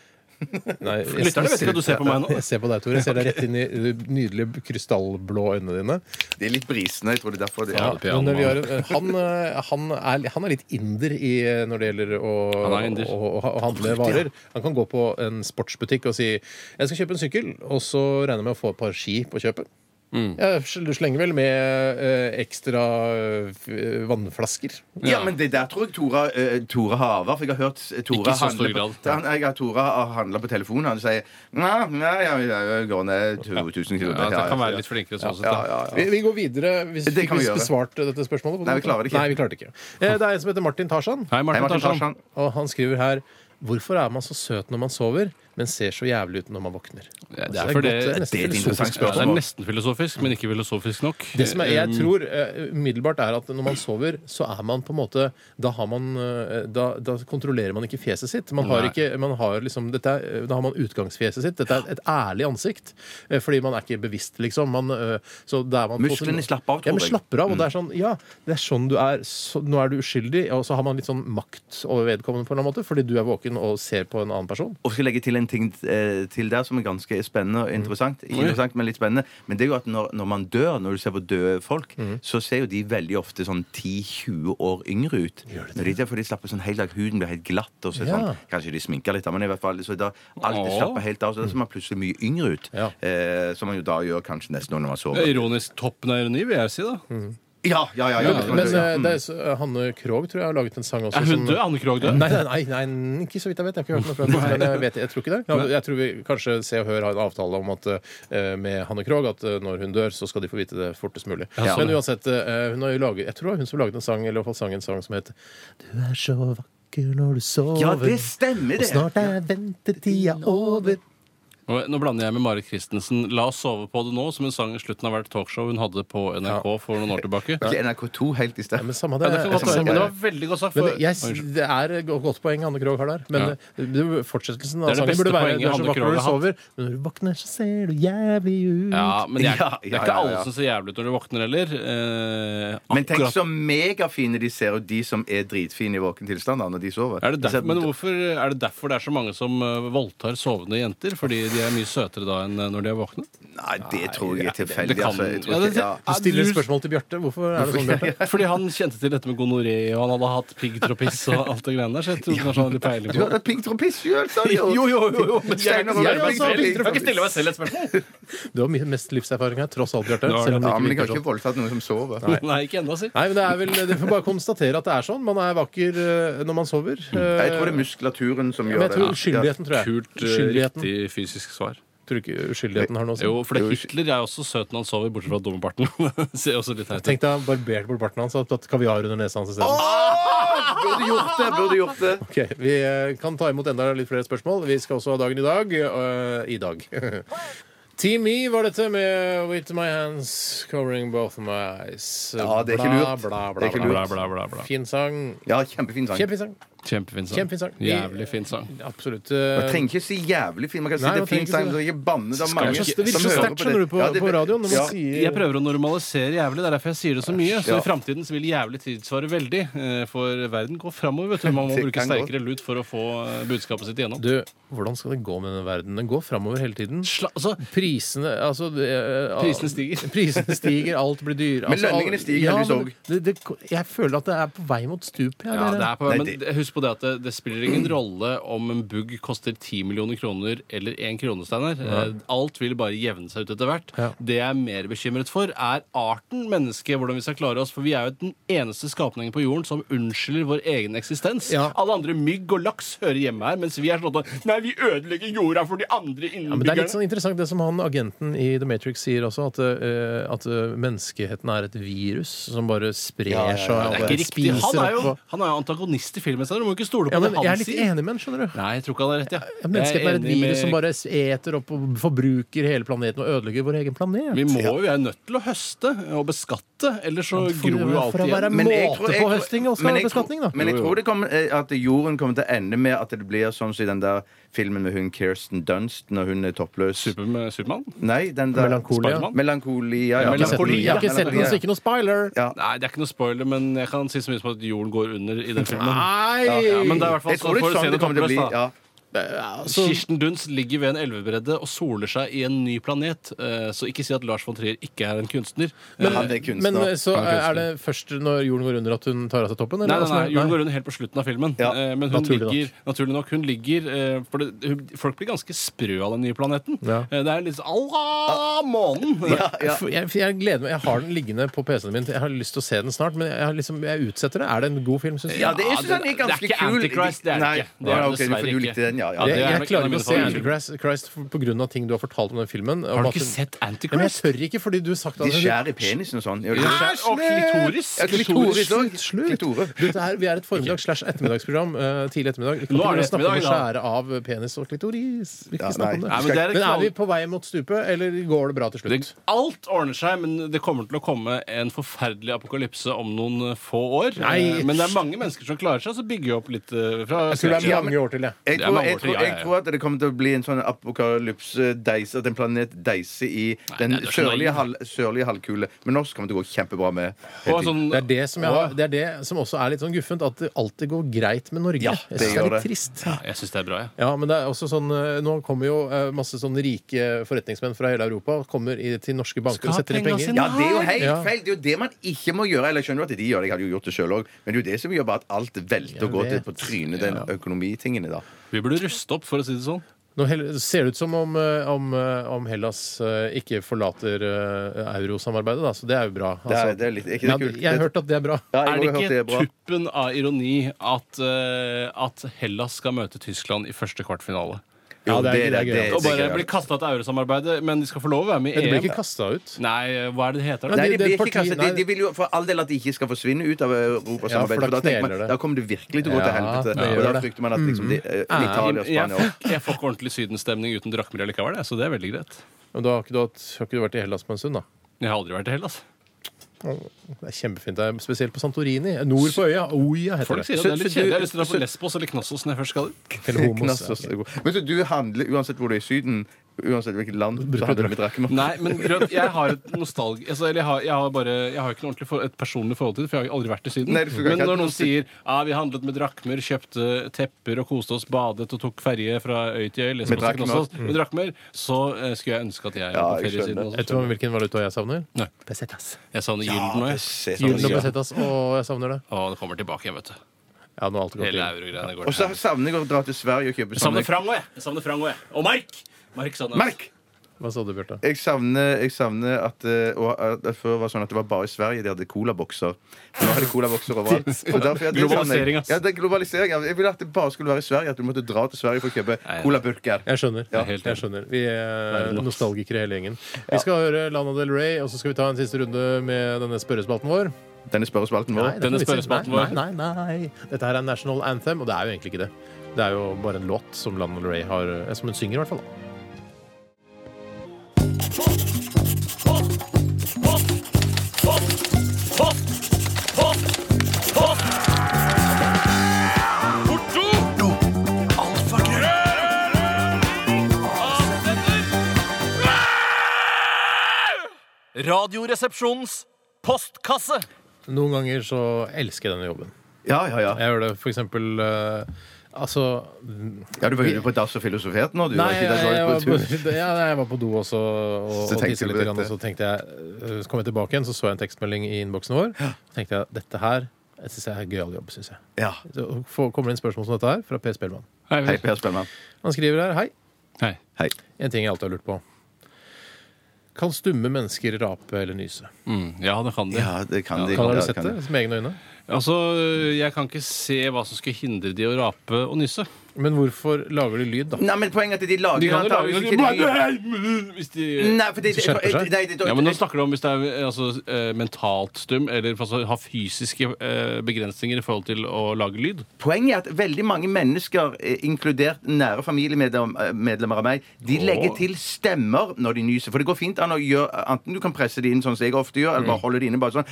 S1: Nei, jeg-
S2: Lytterne vet ikke at du ser på meg nå.
S1: Jeg ser på deg, Tore. Jeg ser deg rett inn i de nydelige krystallblå øynene dine.
S3: De er litt brisende. Jeg tror det er derfor de
S1: Ja,
S3: ja.
S1: men vi har, eh, han, eh, han, er, han er litt inder i, eh, når det gjelder å,
S2: Han er inder.
S1: å, å, å handle varer. Han kan gå på en sportsbutikk og si 'jeg skal kjøpe en sykkel', og så regner jeg med å få et par ski på kjøpet.
S3: Mm.
S1: Jeg sl- slenger vel med eh, ekstra eh, f- eh, vannflasker.
S3: Ja, men det der tror jeg Tora, eh, Tora har arvet, For jeg har hørt s- Tora
S2: Ikke i så stor
S3: handle på-
S2: grad.
S3: Han- Jeg har Tora har handlet på telefonen. Han sier nei, nei, jeg, jeg går ned 2000 km.
S2: Ja, jeg kan være litt flinkere sånn sett.
S3: ja,
S2: da.
S3: ja, ja.
S1: Vi, vi går videre. Hvis
S3: Det
S1: vi
S3: kan vi gjøre.
S1: besvart dette spørsmålet. på
S3: Nei,
S1: noen
S3: vi klarer
S1: måte.
S3: det ikke.
S1: Nei, vi klarte ikke. Eh, Det er en som heter Martin Tarzan.
S2: Hei,
S3: Hei,
S2: Martin
S3: Martin
S2: Tarzan.
S3: Tarzan.
S1: Og han skriver her Hvorfor er man så søt når man sover, men ser så jævlig ut når man våkner?
S2: Ja, det
S1: Altså,
S2: er fordi-
S1: godt,
S2: det er
S1: nesten
S3: et interessant
S1: filosofisk
S2: Ja,
S3: spørsmål.
S2: det er nesten filosofisk, men ikke filosofisk nok.
S1: Det som er, jeg
S2: Um,
S1: tror eh, umiddelbart er at når man sover, så er man på en måte Da, har man, eh, da, da kontrollerer man ikke fjeset sitt. Man har
S2: Nei.
S1: ikke, man har liksom, dette er, da har man utgangsfjeset sitt. Dette er et ærlig ansikt. eh, Fordi man er ikke bevisst, liksom. Man, eh, så da er man på
S3: Musklene
S1: sin-
S3: slapper av, tror
S1: ja, men
S3: jeg. Mm.
S1: slapper av. Og det er sånn Ja, det er sånn du er. Så, nå er du uskyldig. Og så har man litt sånn makt over vedkommende på en eller annen måte, fordi du er våken og ser på en annen person.
S3: Og skal legge til en en ting eh, til der som er ganske spennende og
S1: Mhm.
S3: interessant. Ikke interessant, men litt spennende. Men det er jo at når, når man dør, når du ser på døde folk,
S1: Mhm.
S3: så ser jo de veldig ofte sånn 10-20 år yngre ut. Når de der, for de slapper sånn helt av, huden blir helt glatt, og så er det
S1: Ja.
S3: sånn Kanskje de sminker litt, da, men i hvert fall så da, alt er
S2: Åh.
S3: slapper helt av, så da ser man plutselig mye yngre ut.
S1: Ja.
S3: Eh, som man jo da gjør kanskje nesten når man
S2: Det
S3: sover.
S2: er Eh, Ironisk toppen av ironi, vil jeg si. da
S3: Ja, ja, ja. Mm. ja,
S1: Men, men eh, det er, så- Hanne Krogh tror jeg har laget en sang også.
S2: Er hun
S1: som-
S2: død? Anne Krogh død?
S1: sånn- Nei, nei, nei, nei, ikke så vidt jeg vet. Jeg har ikke hørt noe fra henne. Men jeg, vet, jeg tror ikke det. Jeg, jeg tror vi kanskje Se og Hør har en avtale om at, eh, med Hanne Krogh at eh, når hun dør, så skal de få vite det fortest mulig.
S2: Ja,
S1: Men
S2: sånn.
S1: uansett, eh, hun har jo laget, jeg tror det var hun som laget en sang, eller i hvert fall sang en sang som het Du er så vakker når du sover.
S3: Ja, det stemmer,
S1: Og
S3: det!
S1: snart er ventetida over.
S2: Og Nå blander jeg med Marit Christensen. La oss sove på det nå, som hun sang i slutten av hvert talkshow hun hadde på NRK for noen år tilbake.
S3: Ikke NRK2 helt i
S1: Ja,
S3: sted.
S1: men samme
S2: Ja,
S1: det.
S2: det, kan godt
S1: samme
S2: være. Men det
S1: det.
S2: var veldig godt sagt.
S1: eh, Men
S2: For,
S1: det, jeg,
S2: Oi, unnskyld.
S1: det er et godt poeng Hanne Krogh har der. Men
S2: Ja.
S1: eh, det- fortsettelsen
S2: Det
S1: av
S2: er det
S1: sangen
S2: beste
S1: burde være
S2: poenget
S1: Du er så
S2: Hanne
S1: vakker når
S2: Krogh
S1: du
S2: har
S1: sover, men når du våkner, så ser du jævlig ut.
S2: ja, men jeg,
S3: Ja, ja,
S2: det er
S3: ja,
S2: ikke
S3: ja,
S2: alle
S3: ja.
S2: som ser jævlig ut når de våkner heller. Eh,
S3: Men tenk
S2: akkurat.
S3: så megafine de ser ut, de som er dritfine i våken tilstand da, når de sover.
S2: Er det,
S3: De ser-
S2: derfor, men hvorfor, er det derfor det er så mange som eh, voldtar sovende jenter? Fordi de er mye søtere da enn eh, når de er våkne?
S3: Nei, det tror jeg er tilfeldig.
S2: det kan-
S3: Altså, jeg tror
S2: Ja, det-
S3: ikke, ja.
S1: Du stiller spørsmål til Bjarte. Hvorfor er det sånn, Bjarte?
S2: Fordi han kjente til dette med gonoré, og han hadde hatt piggtropiss og alt det greiene der. Så jeg trodde kanskje han hadde litt peiling
S3: Du
S2: på
S3: har
S2: det.
S3: hatt piggtropiss sjøl, sa du jo!
S2: Jo, jo, jo, jo, men jeg,
S3: Steinar
S2: kan ikke
S3: og Bjørn
S2: stille meg selv-
S3: Bjørn
S2: jeg kan ikke stille meg selv et spørsmål!
S1: Du har mye- mest livserfaring her, tross alt, Bjarte.
S2: Nå er
S1: selv om det ikke
S3: Ja, men jeg
S1: virker
S3: har ikke
S1: sånn.
S3: voldtatt noen som sover.
S2: Nei, ikke ennå, si.
S1: Nei, men det er vel, Du får bare konstatere at det er sånn. Man er vakker eh, når man sover. Eh,
S3: Jeg tror det er muskulaturen som
S1: men
S3: gjør
S1: jeg tror
S3: det. Ja.
S1: uskyldigheten, tror jeg.
S2: Kult, eh,
S1: uskyldigheten.
S2: riktig fysisk svar.
S1: Tror du ikke uskyldigheten har noe sånn- å si?
S2: Jo, for det Hitler er også søt når han sover, bortsett fra dummeparten. Ser også litt teit ut.
S1: Tenk deg barbert bort barten hans og tatt kaviar under nesa hans isteden.
S3: Burde gjort det! Burde gjort det.
S1: Ok, Vi eh, kan ta imot enda litt flere spørsmål. Vi skal også ha dagen i dag. eh, I dag. Team E var dette med With My Hands Covering Both My Eyes.
S3: Ja, det er ikke lurt.
S1: Bla, bla,
S3: Det er ikke
S1: bla,
S3: lurt.
S2: Bla, bla, bla, bla.
S1: Fin sang.
S3: Ja, kjempefin sang.
S1: Kjempefin sang.
S2: Kjempefin sang.
S1: Kjempefin sang.
S2: Jævlig fin sang.
S1: Absolutt.
S3: Man trenger ikke si jævlig fin. Man kan si
S1: Nei,
S3: det
S1: man
S3: er fin
S1: trenger ikke si
S3: sang. men
S1: det.
S3: Ikke banne. Det er
S2: Skal
S3: mange
S2: ikke-
S1: det virker
S3: som
S1: så
S3: hører
S1: sterkt,
S3: på
S1: skjønner du,
S3: det.
S1: på,
S3: Ja, det-
S1: på radioen. Når man
S3: ja.
S1: sier
S2: Jeg prøver å normalisere jævlig. Det er derfor jeg sier det så mye. Så
S3: Ja.
S2: i framtiden så vil jævlig tilsvare veldig. eh, For verden går framover, vet du. Man må
S3: Det
S2: bruke
S3: kan gå.
S2: sterkere lut for å få eh, budskapet sitt igjennom.
S1: Du, hvordan skal det gå med denne verden? Den går framover hele tiden.
S2: Sla, altså,
S1: Prisene altså, det, eh,
S2: Prisene stiger.
S1: Prisene stiger, alt blir dyrere.
S3: Men lønningene stiger heldigvis
S1: men
S3: òg.
S1: det- det- Jeg føler at det er på vei mot stupet.
S2: ja, det er på,
S3: Nei,
S2: men
S3: det-
S2: husk på det at det, det spiller ingen rolle om en bugg koster 10 millioner kroner eller én krone, Steinar. Eh, Alt vil bare jevne seg ut etter hvert.
S1: Ja.
S2: Det jeg er mer bekymret for, er arten menneske, hvordan vi skal klare oss. For vi er jo den eneste skapningen på jorden som unnskylder vår egen eksistens.
S1: Ja.
S2: Alle andre mygg og laks hører hjemme her, mens vi er sånn at Nei, vi ødelegger jorda for de andre
S1: Ja, men det er litt
S2: innbyggerne.
S1: sånn interessant det som han agenten i The Matrix sier også, at, eh, at eh, menneskeheten er et virus som bare sprer
S3: Ja, ja, ja.
S1: seg. og
S2: det er ikke riktig.
S1: spiser
S2: Han er jo,
S1: opp og-
S2: han er jo antagonist i filmen, Steinar. Du må ikke stole på
S1: ja, men
S2: det
S1: Jeg er
S2: han
S1: litt
S2: sier.
S1: enig med han, skjønner du.
S2: Nei, jeg tror ikke han har rett. Ja.
S1: Ja, Menneskeheten er et
S2: enig
S1: virus
S2: med
S1: som bare eter opp og forbruker hele planeten og ødelegger vår egen planet.
S2: Vi må jo, vi er nødt til å høste og beskatte, ellers så
S1: for-
S2: gror jo alt
S1: for å være-
S2: igjen.
S1: Men måte på høsting og skal
S3: men jeg
S1: ha beskatning, da.
S3: tror- Men jeg tror det kommer, eh, at jorden kommer til å ende med at det blir sånn som i den der filmen med hun Kirsten Dunst når hun er toppløs.
S2: Superm- Supermann?
S3: Nei, den der
S1: Melankolia.
S3: Spiderman? Melankolia,
S2: Ja,
S3: ja.
S1: Jeg har ikke sett den. Jeg har ikke sett den, så ikke noe spoiler.
S3: Ja.
S2: Nei, det er ikke noe spoiler, men jeg kan si så mye som at jorden går under i den filmen.
S1: Nei!
S2: Ja, men det er i hvert fall
S3: Jeg tror
S2: sånn
S3: det
S2: for å
S3: er
S2: se
S3: sånn
S2: det
S3: det kommer til å bli.
S2: toppløst, da.
S3: Ja.
S1: altså,
S2: Kirsten Dunst ligger ved en elvebredde og soler seg i en ny planet. eh, Så ikke si at Lars von Trier ikke er en kunstner. Eh,
S3: Han er kunstner.
S1: men eh, så
S2: Han er
S1: er det først når jorden går under at hun tar av seg toppen?
S2: Nei,
S1: eller?
S2: nei, nei, jorden går under helt på slutten av filmen.
S3: Ja,
S2: Eh, Men hun
S1: naturlig nok.
S2: ligger, naturlig nok, hun ligger eh, for det, hun, Folk blir ganske sprø av den nye planeten.
S1: Ja.
S2: Eh, Det er litt sånn Allah, månen!
S3: Ja.
S1: For Jeg, for jeg gleder meg, jeg har den liggende på PC-en min. Jeg har lyst til å se den snart, men jeg, har liksom, jeg utsetter det. Er det en god film, syns du?
S3: Ja, det er
S2: Ja,
S3: ikke sånn det er ganske
S2: det er ikke
S3: kul.
S2: Antichrist, det er det
S3: Nei,
S2: ikke. Det er
S3: ja,
S2: det
S3: ok,
S2: dessverre
S3: for du
S2: ikke.
S3: likte den, ja. ja.
S2: Ja,
S1: jeg,
S2: det er
S1: jeg
S2: nok en
S1: klarer
S2: av
S1: ikke å se
S2: mine
S1: Antichrist Christ for- på grunn av ting du har fortalt om den filmen.
S2: Har du ikke sett
S1: Ja, men jeg
S2: Antichrist?
S1: tør ikke, fordi du har sagt
S3: De
S1: at
S3: skjærer i penisen og sånn. Ja, de skjærer-
S2: Og klitoris.
S3: Ja, klitoris òg.
S1: Slutt, slutt. Dette her, vi er et formiddags- slags ettermiddagsprogram. eh, tidlig ettermiddag. Vi kan
S2: Nå
S1: ikke
S2: er det
S1: begynne å snakke om å
S2: ettermiddag,
S1: skjære av penis og klitoris. Vi kan
S3: Ja,
S1: ikke snakke om
S3: nei.
S1: det.
S2: Nei, men det er et
S1: men er vi
S2: knall-
S1: på vei mot stupet, eller går det bra til slutt?
S2: Det, alt ordner seg, men det kommer til å komme en forferdelig apokalypse om noen eh, få år.
S1: Nei.
S2: Eh, Men det er mange mennesker som klarer seg, så bygger vi opp litt eh, fra
S1: Jeg tror det er mange år til, jeg.
S3: Jeg
S2: Det er
S3: tror,
S2: mange år
S3: jeg, tror, jeg tror at det kommer til å bli en sånn apokalypse-deise, at en planet deiser i den
S2: nei, det er så
S3: sørlige,
S2: naivt.
S3: halv, sørlige halvkule. Men norsk kommer det til å gå kjempebra med.
S2: Og
S3: hele tiden.
S2: sånn,
S1: Det er det, som jeg har, det er det som også er litt sånn guffent, at det alltid går greit med Norge. jeg synes det
S3: gjør
S1: er litt
S3: det.
S1: trist.
S2: jeg syns det er bra, jeg.
S1: Ja, men det er også sånn, eh, Nå kommer jo eh, masse sånn rike forretningsmenn fra hele Europa kommer i, til norske banker
S2: Skal
S1: og
S2: ha
S1: setter inn
S2: penga
S1: penger.
S2: sine.
S3: Ja, det er jo helt
S1: Ja.
S3: feil. Det er jo det man ikke må gjøre. Eller jeg skjønner jo at de gjør det, jeg hadde jo gjort det sjøl òg. Men det er jo det som gjør bare at alt velter
S1: Jeg
S3: og går til
S1: vet.
S3: på trynet, den økonomitingen i dag.
S2: Vi burde ruste opp, for å si det sånn.
S1: Nå hel- ser det ut som om, eh, om, eh, om Hellas eh, ikke forlater eh, eurosamarbeidet, da, så det er jo bra.
S3: Det er,
S1: Altså,
S3: det er litt, er ikke
S1: ja,
S3: det kult?
S1: jeg har hørt at det er bra.
S3: ja, jeg
S2: Er
S3: har
S2: det
S3: hørt det er
S2: ikke
S3: bra.
S2: tuppen av ironi at, eh, at Hellas skal møte Tyskland i første kvartfinale?
S1: Ja,
S3: Jo,
S1: det er- det er gøy,
S3: det
S1: altså.
S2: Og bare
S3: gøy.
S2: bli kasta til eurosamarbeidet, men de skal få lov å være med
S1: Det
S2: i
S1: blir ikke
S2: EM.
S1: kasta ut.
S2: Nei, hva er det det heter? da?
S1: Nei,
S3: Nei,
S1: det-
S3: de, blir
S1: det
S3: ikke
S1: partiet-
S3: kastet. de, de vil jo for all del at de ikke skal forsvinne ut av eh,
S1: Ja, for da
S3: europasamarbeidet. for da, tenker
S1: kneler
S3: man,
S1: det.
S3: da kommer det virkelig til å gå til
S1: Ja,
S3: helvete.
S1: det Mm.
S3: og
S1: gjør
S3: da
S1: det.
S3: frykter man at liksom, de, eh, Italia og
S2: Jeg,
S3: Spania
S2: jeg, jeg får ikke ordentlig sydenstemning uten drakkmiljø likevel, jeg, så det er veldig greit.
S1: Men da har ikke du, hatt- har ikke du vært i Hellas på en stund, da?
S2: Jeg har aldri vært i Hellas.
S1: Det er kjempefint. Det er spesielt på Santorini. Nord på øya. Oia heter
S2: Folk
S1: det.
S2: sier at det er litt kjedelig. Jeg har lyst til å dra på Lesbos eller Knossos når jeg først skal dit.
S1: Eller homos.
S3: Knass og støv. Men så du handler uansett hvor du er i Syden, uansett hvilket land, så handler du med drakkematt?
S2: Nei, men grønt, jeg har et nostalg... Altså, eller jeg har, jeg har bare Jeg har ikke noe ordentlig for, et personlig forhold til det, for jeg har aldri vært i Syden.
S3: Nei, du skal ikke
S2: men
S3: ha
S2: når
S3: et
S2: noen
S3: nostal-
S2: sier ja, vi handlet med drakmer, kjøpte tepper og koste oss, badet og tok ferje fra øy til øy, Lesbos
S3: drakmer.
S2: og Knossos med drakmer, så eh, skulle jeg ønske at jeg
S3: Ja,
S2: var på ferie
S3: jeg
S2: i Syden.
S3: skjønner.
S1: Vet
S2: Også.
S1: du hva- hvilken valuta jeg savner?
S2: Nei.
S1: Pesetas.
S2: Jeg savner gylden nå, jeg.
S1: Gylden og pesetas. Å, jeg savner det.
S2: Å, det kommer tilbake, jeg, vet du.
S1: Ja, nå er alt godt.
S2: Hele
S1: igjen.
S2: eurogreiene går
S3: Og så savner jeg å dra til Sverige og kjøpe
S2: Jeg savner
S3: sånne
S2: Frang òg, jeg. jeg. savner Frang også, jeg. Og Mark! Mark savner jeg.
S3: Merk!
S1: Hva sa du, Bjarte?
S3: Jeg savner, jeg savner at, eh, og, at det før var sånn at det var bare i Sverige de hadde colabokser. Nå har de colabokser overalt. Så derfor- jeg-
S2: Globalisering, ass.
S3: Ja, det er globalisering. ja. Jeg ville at det bare skulle være i Sverige. At du måtte dra til Sverige for å kjøpe
S2: Nei,
S3: colabulker.
S1: Jeg skjønner.
S2: Ja, helt
S1: jeg
S2: enig.
S1: skjønner. Vi er
S2: Veldig laks.
S1: nostalgikere hele gjengen. Vi skal høre Lana Del Rey, og så skal vi ta en siste runde med denne spørrespalten vår.
S3: Denne spørrespalten vår.
S1: det
S2: Denne
S1: får vi se.
S2: spørrespalten
S1: nei, nei, nei, nei. Dette her er National Anthem, og det er jo egentlig ikke det. Det er jo bare en låt som Lana Del Rey har eh, Som hun synger, i hvert fall. da.
S5: Radioresepsjonens postkasse.
S1: Noen ganger så elsker jeg denne jobben.
S3: Ja, ja, ja.
S1: Jeg gjør det for eksempel eh, Altså
S3: ja du var jo på dass og filosofert nå, du. var
S1: Nei, jeg,
S3: ikke der, du var
S1: jeg,
S3: jo
S1: var på,
S3: på tur.
S1: ja, nei, jeg var på do også og,
S3: Så
S1: og
S3: tenkte
S1: tissa
S3: du
S1: litt,
S3: på
S1: grann, og
S3: dette.
S1: så tenkte jeg eh, Så kom jeg tilbake igjen, så så jeg en tekstmelding i innboksen vår. Så tenkte jeg dette her jeg synes jeg er en gøyal jobb, syns jeg.
S3: Ja.
S1: Så får- kommer det inn spørsmål som dette her, fra Per Spellemann.
S2: Hei,
S3: Hei, Per Spellemann.
S1: Han skriver her Hei.
S2: Hei.
S3: Hei.
S1: En ting jeg alltid har lurt på. Kan stumme mennesker rape eller nyse?
S2: Mm, ja, det kan de.
S3: Ja, det kan
S1: Kan
S3: de. Ja,
S1: Har du
S3: det
S1: sett
S3: kan
S1: det
S3: de.
S1: med egne øyne?
S2: Altså, Jeg kan ikke se hva som skulle hindre de å rape og nyse.
S1: Men hvorfor lager de lyd, da?
S3: Nei, men poenget er at de lager
S2: De kan jo
S3: antageligvis
S2: lage sånn
S3: ikke de-
S2: hvis de
S3: Nei, for det, det,
S1: skjerper seg.
S3: nei, det,
S2: ja, men Nå snakker du om hvis det er eh, altså, eh, mentalt stum, eller altså, har fysiske eh, begrensninger i forhold til å lage lyd.
S3: Poenget er at veldig mange mennesker, eh, inkludert nære familiemedlemmer av meg, de legger til stemmer når de nyser. For det går fint an å gjøre Enten du kan presse det inn sånn som jeg ofte gjør,
S2: Mm.
S3: eller bare holde det inne bare sånn.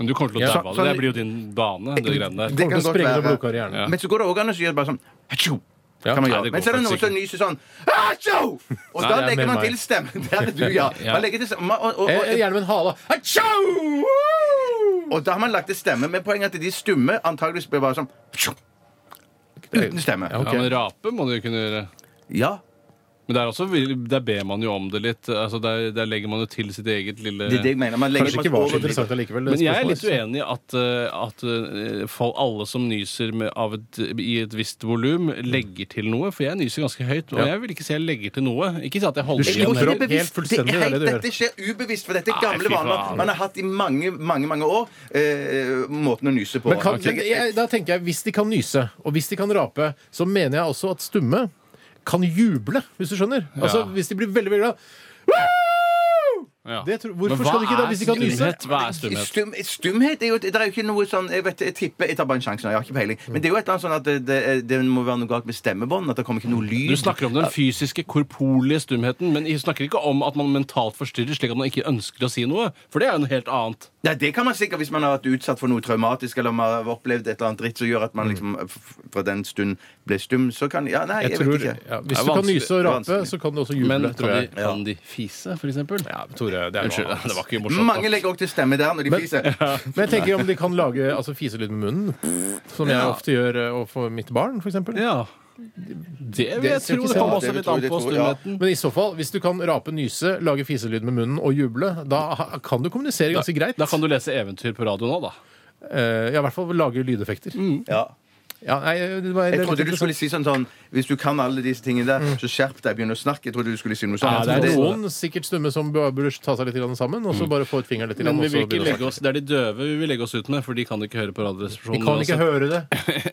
S2: Men du kommer til å
S1: Ja.
S2: daue av det. Det blir jo din bane. Det greiene der.
S3: Det
S1: Kommer
S3: kan
S1: til å sprenge
S3: godt
S1: noen
S3: være.
S1: blodkar i hjernen.
S2: Ja.
S3: Men så går det òg an å gjøre bare sånn Hatsjo!
S1: Ja.
S3: Kan man
S2: Nei,
S3: gjøre.
S2: det går
S3: Men så er det noen
S2: faktisk
S3: som nyser sånn Hatsjo! Og
S2: Nei,
S3: da
S2: det er
S3: legger
S1: mer
S3: man
S1: meg.
S3: til stemmen. Det er du, ja.
S2: Ja.
S3: Man legger til stemmen. Og, og,
S1: Eh,
S3: og,
S1: Gjerne med en hale.
S3: Hatsjo! Og da har man lagt til stemme. Men poenget er at de stumme antageligvis blir bare sånn «Hatsjo!» Uten stemme.
S1: Ja, ok.
S2: Ja, men rape må du jo kunne gjøre.
S3: Ja.
S2: Men der, også, vil- der ber man jo om det litt. Altså, der, der legger man jo til sitt eget lille
S3: Det er det jeg mener. Man legger
S1: Kanskje ikke var så
S3: over-
S1: interessant allikevel. det
S2: Men jeg er litt
S1: spørsmålet.
S2: uenig i at, eh, at eh, fol- alle som nyser med, av et, i et visst volum, legger til noe. For jeg nyser ganske høyt, og
S1: Ja.
S2: jeg vil ikke si jeg legger til noe. Ikke si at jeg holder
S1: Du
S3: Jeg tror
S2: igjen.
S1: slipper
S3: ikke
S1: opp
S3: det er bevisst.
S1: helt fullstendig,
S3: Det er
S1: det er det du gjør.
S3: dette skjer ubevisst, for dette er
S2: Nei,
S3: gamle
S2: fy
S3: vaner
S2: faen.
S3: man har hatt i mange mange, mange år. Eh, måten å nyse på.
S1: Men kan,
S3: Ok.
S1: men jeg, da tenker jeg, Hvis de kan nyse, og hvis de kan rape, så mener jeg også at stumme kan juble, hvis du skjønner. Altså,
S2: Ja.
S1: Hvis de blir veldig veldig glad
S2: Ja.
S1: Det tror- hvorfor
S2: Men
S1: skal
S2: hva
S1: du ikke da,
S2: er
S1: hvis de kan nyse?
S2: stumhet? Hva er stumhet?
S3: Stum, stumhet er jo Det er jo ikke noe sånn Jeg vet, jeg tipper Jeg tar bare en sjanse nå, jeg har ikke peiling. Men det er jo et eller annet sånn at det, det, det må være noe galt med stemmebånd. At det kommer ikke noe lyd.
S2: Du snakker om den fysiske, korporlige stumheten, men jeg snakker ikke om at man mentalt forstyrrer slik at man ikke ønsker å si noe. For det er jo noe helt annet.
S3: Nei, det kan man sikkert hvis man har vært utsatt for noe traumatisk eller man har opplevd et eller annet dritt som gjør at man liksom f- fra den stund ble stum. Så kan Ja, nei, jeg,
S1: Mm. Jeg tror,
S3: vet ikke.
S1: ja, hvis
S2: Det er
S1: du kan
S2: vanskelig.
S1: nyse og rape,
S3: Vanskelig.
S1: så kan du også
S2: Men
S1: juble,
S2: kan
S1: tror
S2: de,
S1: jeg.
S2: kan de fise, for eksempel?
S1: Ja, men Tore, det er jo
S2: Unnskyld,
S1: annet.
S2: det var ikke morsomt.
S3: Mange legger også til stemme der når de
S1: Men-
S3: fiser.
S1: Men jeg tenker om de kan lage altså, fiselyd med munnen, som jeg ofte gjør eh, overfor mitt barn, f.eks.
S2: Ja. Det vil
S3: Det
S2: jeg
S3: ser
S2: tro.
S3: ikke
S2: Det
S3: sånn
S2: kommer også
S3: ut. Det
S2: litt
S3: tror-
S2: an
S3: det
S2: på
S3: tror- ja.
S2: stumheten.
S1: Men i så fall, hvis du kan rape, nyse, lage fiselyd med munnen og juble, da ha- kan du kommunisere ganske greit.
S2: Da kan du lese eventyr på radio nå, da.
S1: Eh, ja, I hvert fall lage lydeffekter.
S3: Ja.
S1: Ja, nei, det var,
S3: Mm. Jeg trodde du skulle si sånn sånn Hvis du kan alle disse tingene der, så skjerp deg, begynn å snakke. Jeg trodde du skulle si noe
S2: Mm. Ja,
S3: sånt.
S1: det er
S3: Men
S1: sånn noen sikkert stumme som bør bør ta seg litt grann sammen, og så bare få ut fingeren litt.
S2: Men
S1: grann,
S2: vi
S1: og så
S2: vil ikke
S1: begynne å
S2: legge oss, det er de døve vi vil legge oss ut med, for de kan ikke høre på
S1: snakke. Vi
S2: Radioresepsjonen.
S1: kan ikke
S2: uansett.
S1: høre det.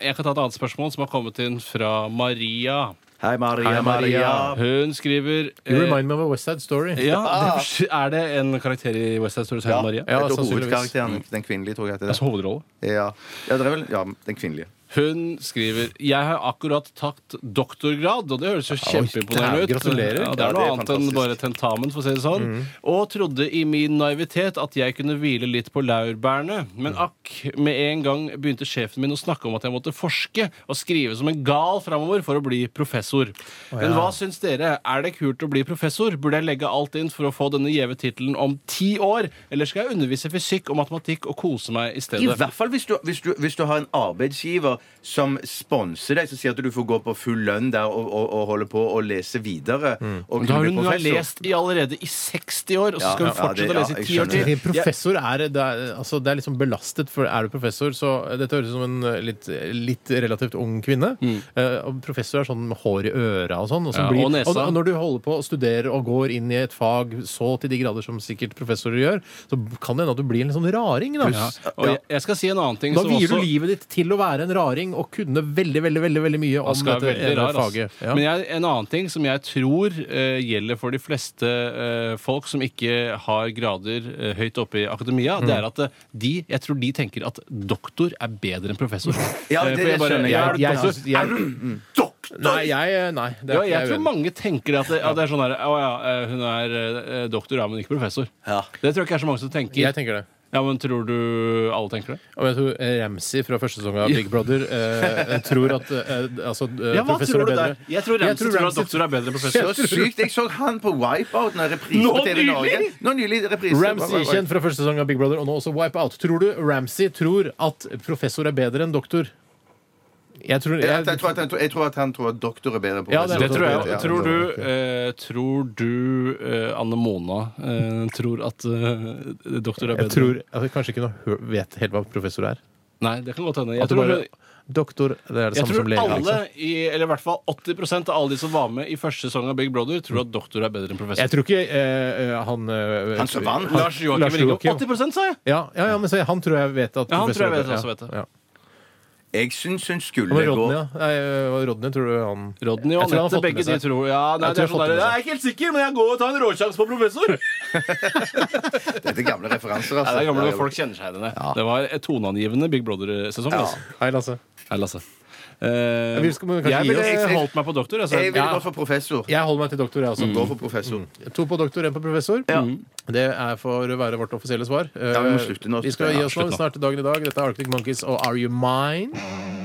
S2: Jeg kan ta et annet spørsmål som har kommet inn fra Maria.
S3: Hei, Maria.
S1: Hei, Maria.
S2: Hun skriver
S1: You
S2: eh,
S1: remind me of a West Side Story.
S2: ja, det, Er det en karakter i West Side Story som
S3: Ja,
S2: heter Maria? Mm.
S1: Ja,
S3: jeg tror
S1: sannsynligvis.
S3: hovedkarakteren. Den kvinnelige, tror jeg. at det
S2: Altså hovedrolle.
S3: er. Ja. ja, det er vel Ja, den kvinnelige.
S2: Hun skriver Jeg har akkurat tatt doktorgrad, og det høres jo kjempeimponerende ut.
S1: dæven, gratulerer.
S2: Ja, det
S3: Ja,
S2: er
S3: det
S2: noe
S3: er
S2: annet enn
S3: fantastisk.
S2: bare tentamen, for å si det sånn. Og trodde i min naivitet at jeg kunne hvile litt på laurbærene. Men akk, med en gang begynte sjefen min å snakke om at jeg måtte forske og skrive som en gal framover for å bli professor. Men hva syns dere? Er det kult å bli professor? Burde jeg legge alt inn for å få denne gjeve tittelen om ti år? Eller skal jeg undervise i fysikk og matematikk og kose meg i
S3: I
S2: stedet?
S3: hvert fall hvis du, hvis, du, hvis du har en arbeidsgiver som sponser deg, som sier at du får gå på full lønn der og, og, og holde på å lese videre. Og
S2: Mm. Da har
S3: bli
S2: hun jo
S3: professor.
S2: lest i allerede i 60 år, og så
S3: Ja,
S2: skal hun
S3: ja,
S2: fortsette
S3: det-
S2: å
S3: ja,
S2: lese i
S3: jeg
S2: 10 år
S3: skjønner.
S2: til.
S1: Helt Professor er, det er, altså, det er liksom belastet, for er du professor, så Dette høres ut som en eh, litt, litt relativt ung kvinne. Eh, og professor er sånn med hår i øra og sånn. Og, som
S2: Mm. Ja,
S1: blir,
S2: og nesa.
S1: og når du holder på å studere og går inn i et fag så til de grader som sikkert professorer gjør, så kan det hende at du blir en litt sånn raring. Da,
S2: Ja. Og jeg, jeg skal si en annen ting
S1: da
S2: som
S1: vier
S2: også
S1: du livet ditt til å være en raring og kunne veldig, veldig veldig, veldig mye
S2: Han
S1: om
S2: skal
S1: dette
S2: være veldig
S1: ene
S2: rar, ass.
S1: faget. Ja.
S2: Men jeg, en annen ting som jeg tror eh, gjelder for de fleste eh, folk som ikke har grader eh, høyt oppe i akademia, det er at eh, de, jeg tror de tenker at doktor er bedre enn professor.
S3: Ja,
S2: Eh,
S3: det-
S2: for
S3: det
S2: jeg bare-
S3: skjønner jeg.
S2: ja, er du
S1: Jeg
S2: doktor?
S1: synes- jeg-
S2: Er du
S1: Nei, jeg Nei. det er
S2: Ja,
S1: ikke
S2: jeg tror
S1: uenig.
S2: mange tenker at det, at det er sånn her Å ja, eh, hun er eh, doktor, ja, men ikke professor.
S3: Ja.
S2: Det tror jeg ikke er så mange som tenker.
S1: Jeg tenker det.
S2: Ja, men tror du alle tenker det?
S1: Og jeg tror eh, Ramsey fra første sesong av Big Brother eh, tror at eh, altså, eh,
S2: Ja, hva
S1: professor
S2: tror
S1: er
S2: du
S1: bedre.
S2: der? Jeg tror Ramsey tror, at
S1: Ramsey-
S2: doktor er bedre enn
S3: Så
S2: professor.
S3: sykt! Jeg så han på Wipeout når reprise
S2: Nå
S3: på TV Norge.
S2: nylig?
S3: Nå nylig reprise.
S1: Ramsey, kjent fra første sesong av Big Brother, og nå også Wipeout. Tror du Ramsey tror at professor er bedre enn doktor? Jeg tror
S3: Jeg, jeg, tror
S1: jeg,
S3: at han, jeg tror at han tror at doktor er bedre på
S1: Ja, det er
S2: Det tror
S1: Ja,
S2: jeg.
S1: det
S2: Tror
S1: tror jeg
S2: du, eh, tror du eh, Anne Mona eh, tror at eh, doktor er
S1: jeg
S2: bedre?
S1: tror altså, Kanskje ikke noe hø- vet helt hva professor er.
S2: Nei, det kan godt hende. Jeg
S1: At du
S2: tror,
S1: bare Doktor, det er det
S2: jeg
S1: samme som
S2: tror
S1: lege.
S2: alle,
S1: Liksom.
S2: i, eller i hvert fall 80 av alle de som var med i første sesong av Big Brother, tror at doktor er bedre enn
S1: Jeg
S2: professor.
S1: tror ikke eh, eh, han eh,
S3: Han som vant.
S2: Lars Joakim
S1: Lars
S2: Ringo.
S1: Joakim.
S2: 80 sa jeg!
S1: Ja, ja, ja, men se, han tror jeg vet at
S2: Ja, han tror jeg
S1: professor er
S2: vet
S1: bedre.
S2: også vet det.
S1: Ja.
S3: Jeg syns hun
S1: Ja,
S3: skulle
S1: men Rodney,
S3: gå
S1: ja. Nei, eh, Rodney, tror du han
S2: Rodney og
S1: Jeg
S2: Anette,
S1: tror han har fått det
S2: begge
S1: med
S2: de
S1: seg.
S2: tror ja, nei,
S1: Jeg
S2: det
S1: tror
S2: er sånn
S1: han
S2: der,
S1: har fått det med seg.
S2: Jeg er ikke helt sikker, men jeg går og tar en råsjanse på professor! Nei,
S3: Dette er gamle referanser, altså.
S2: det er gamle folk kjenner seg igjen i det. Det var et toneangivende Big Brother-sesong. Altså.
S1: Hei, Lasse.
S2: Hei, Lasse. Eh,
S1: vi skal- men vi
S2: jeg
S1: kan gi
S2: ville
S1: oss-
S2: holdt meg på doktor. Altså.
S3: Jeg vil
S2: Ja.
S3: gå for professor.
S1: Jeg holder meg til doktor, jeg altså.
S2: Mm.
S1: også.
S3: Gå for professor.
S1: To på doktor, én på professor. Det er for å være vårt offisielle svar. Eh,
S3: vi må slutte nå.
S1: Vi skal gi oss
S2: Ja,
S1: nå
S2: slutt nå.
S1: snart til dagen i dag. Dette er Arctic Monkeys og Are You Mine?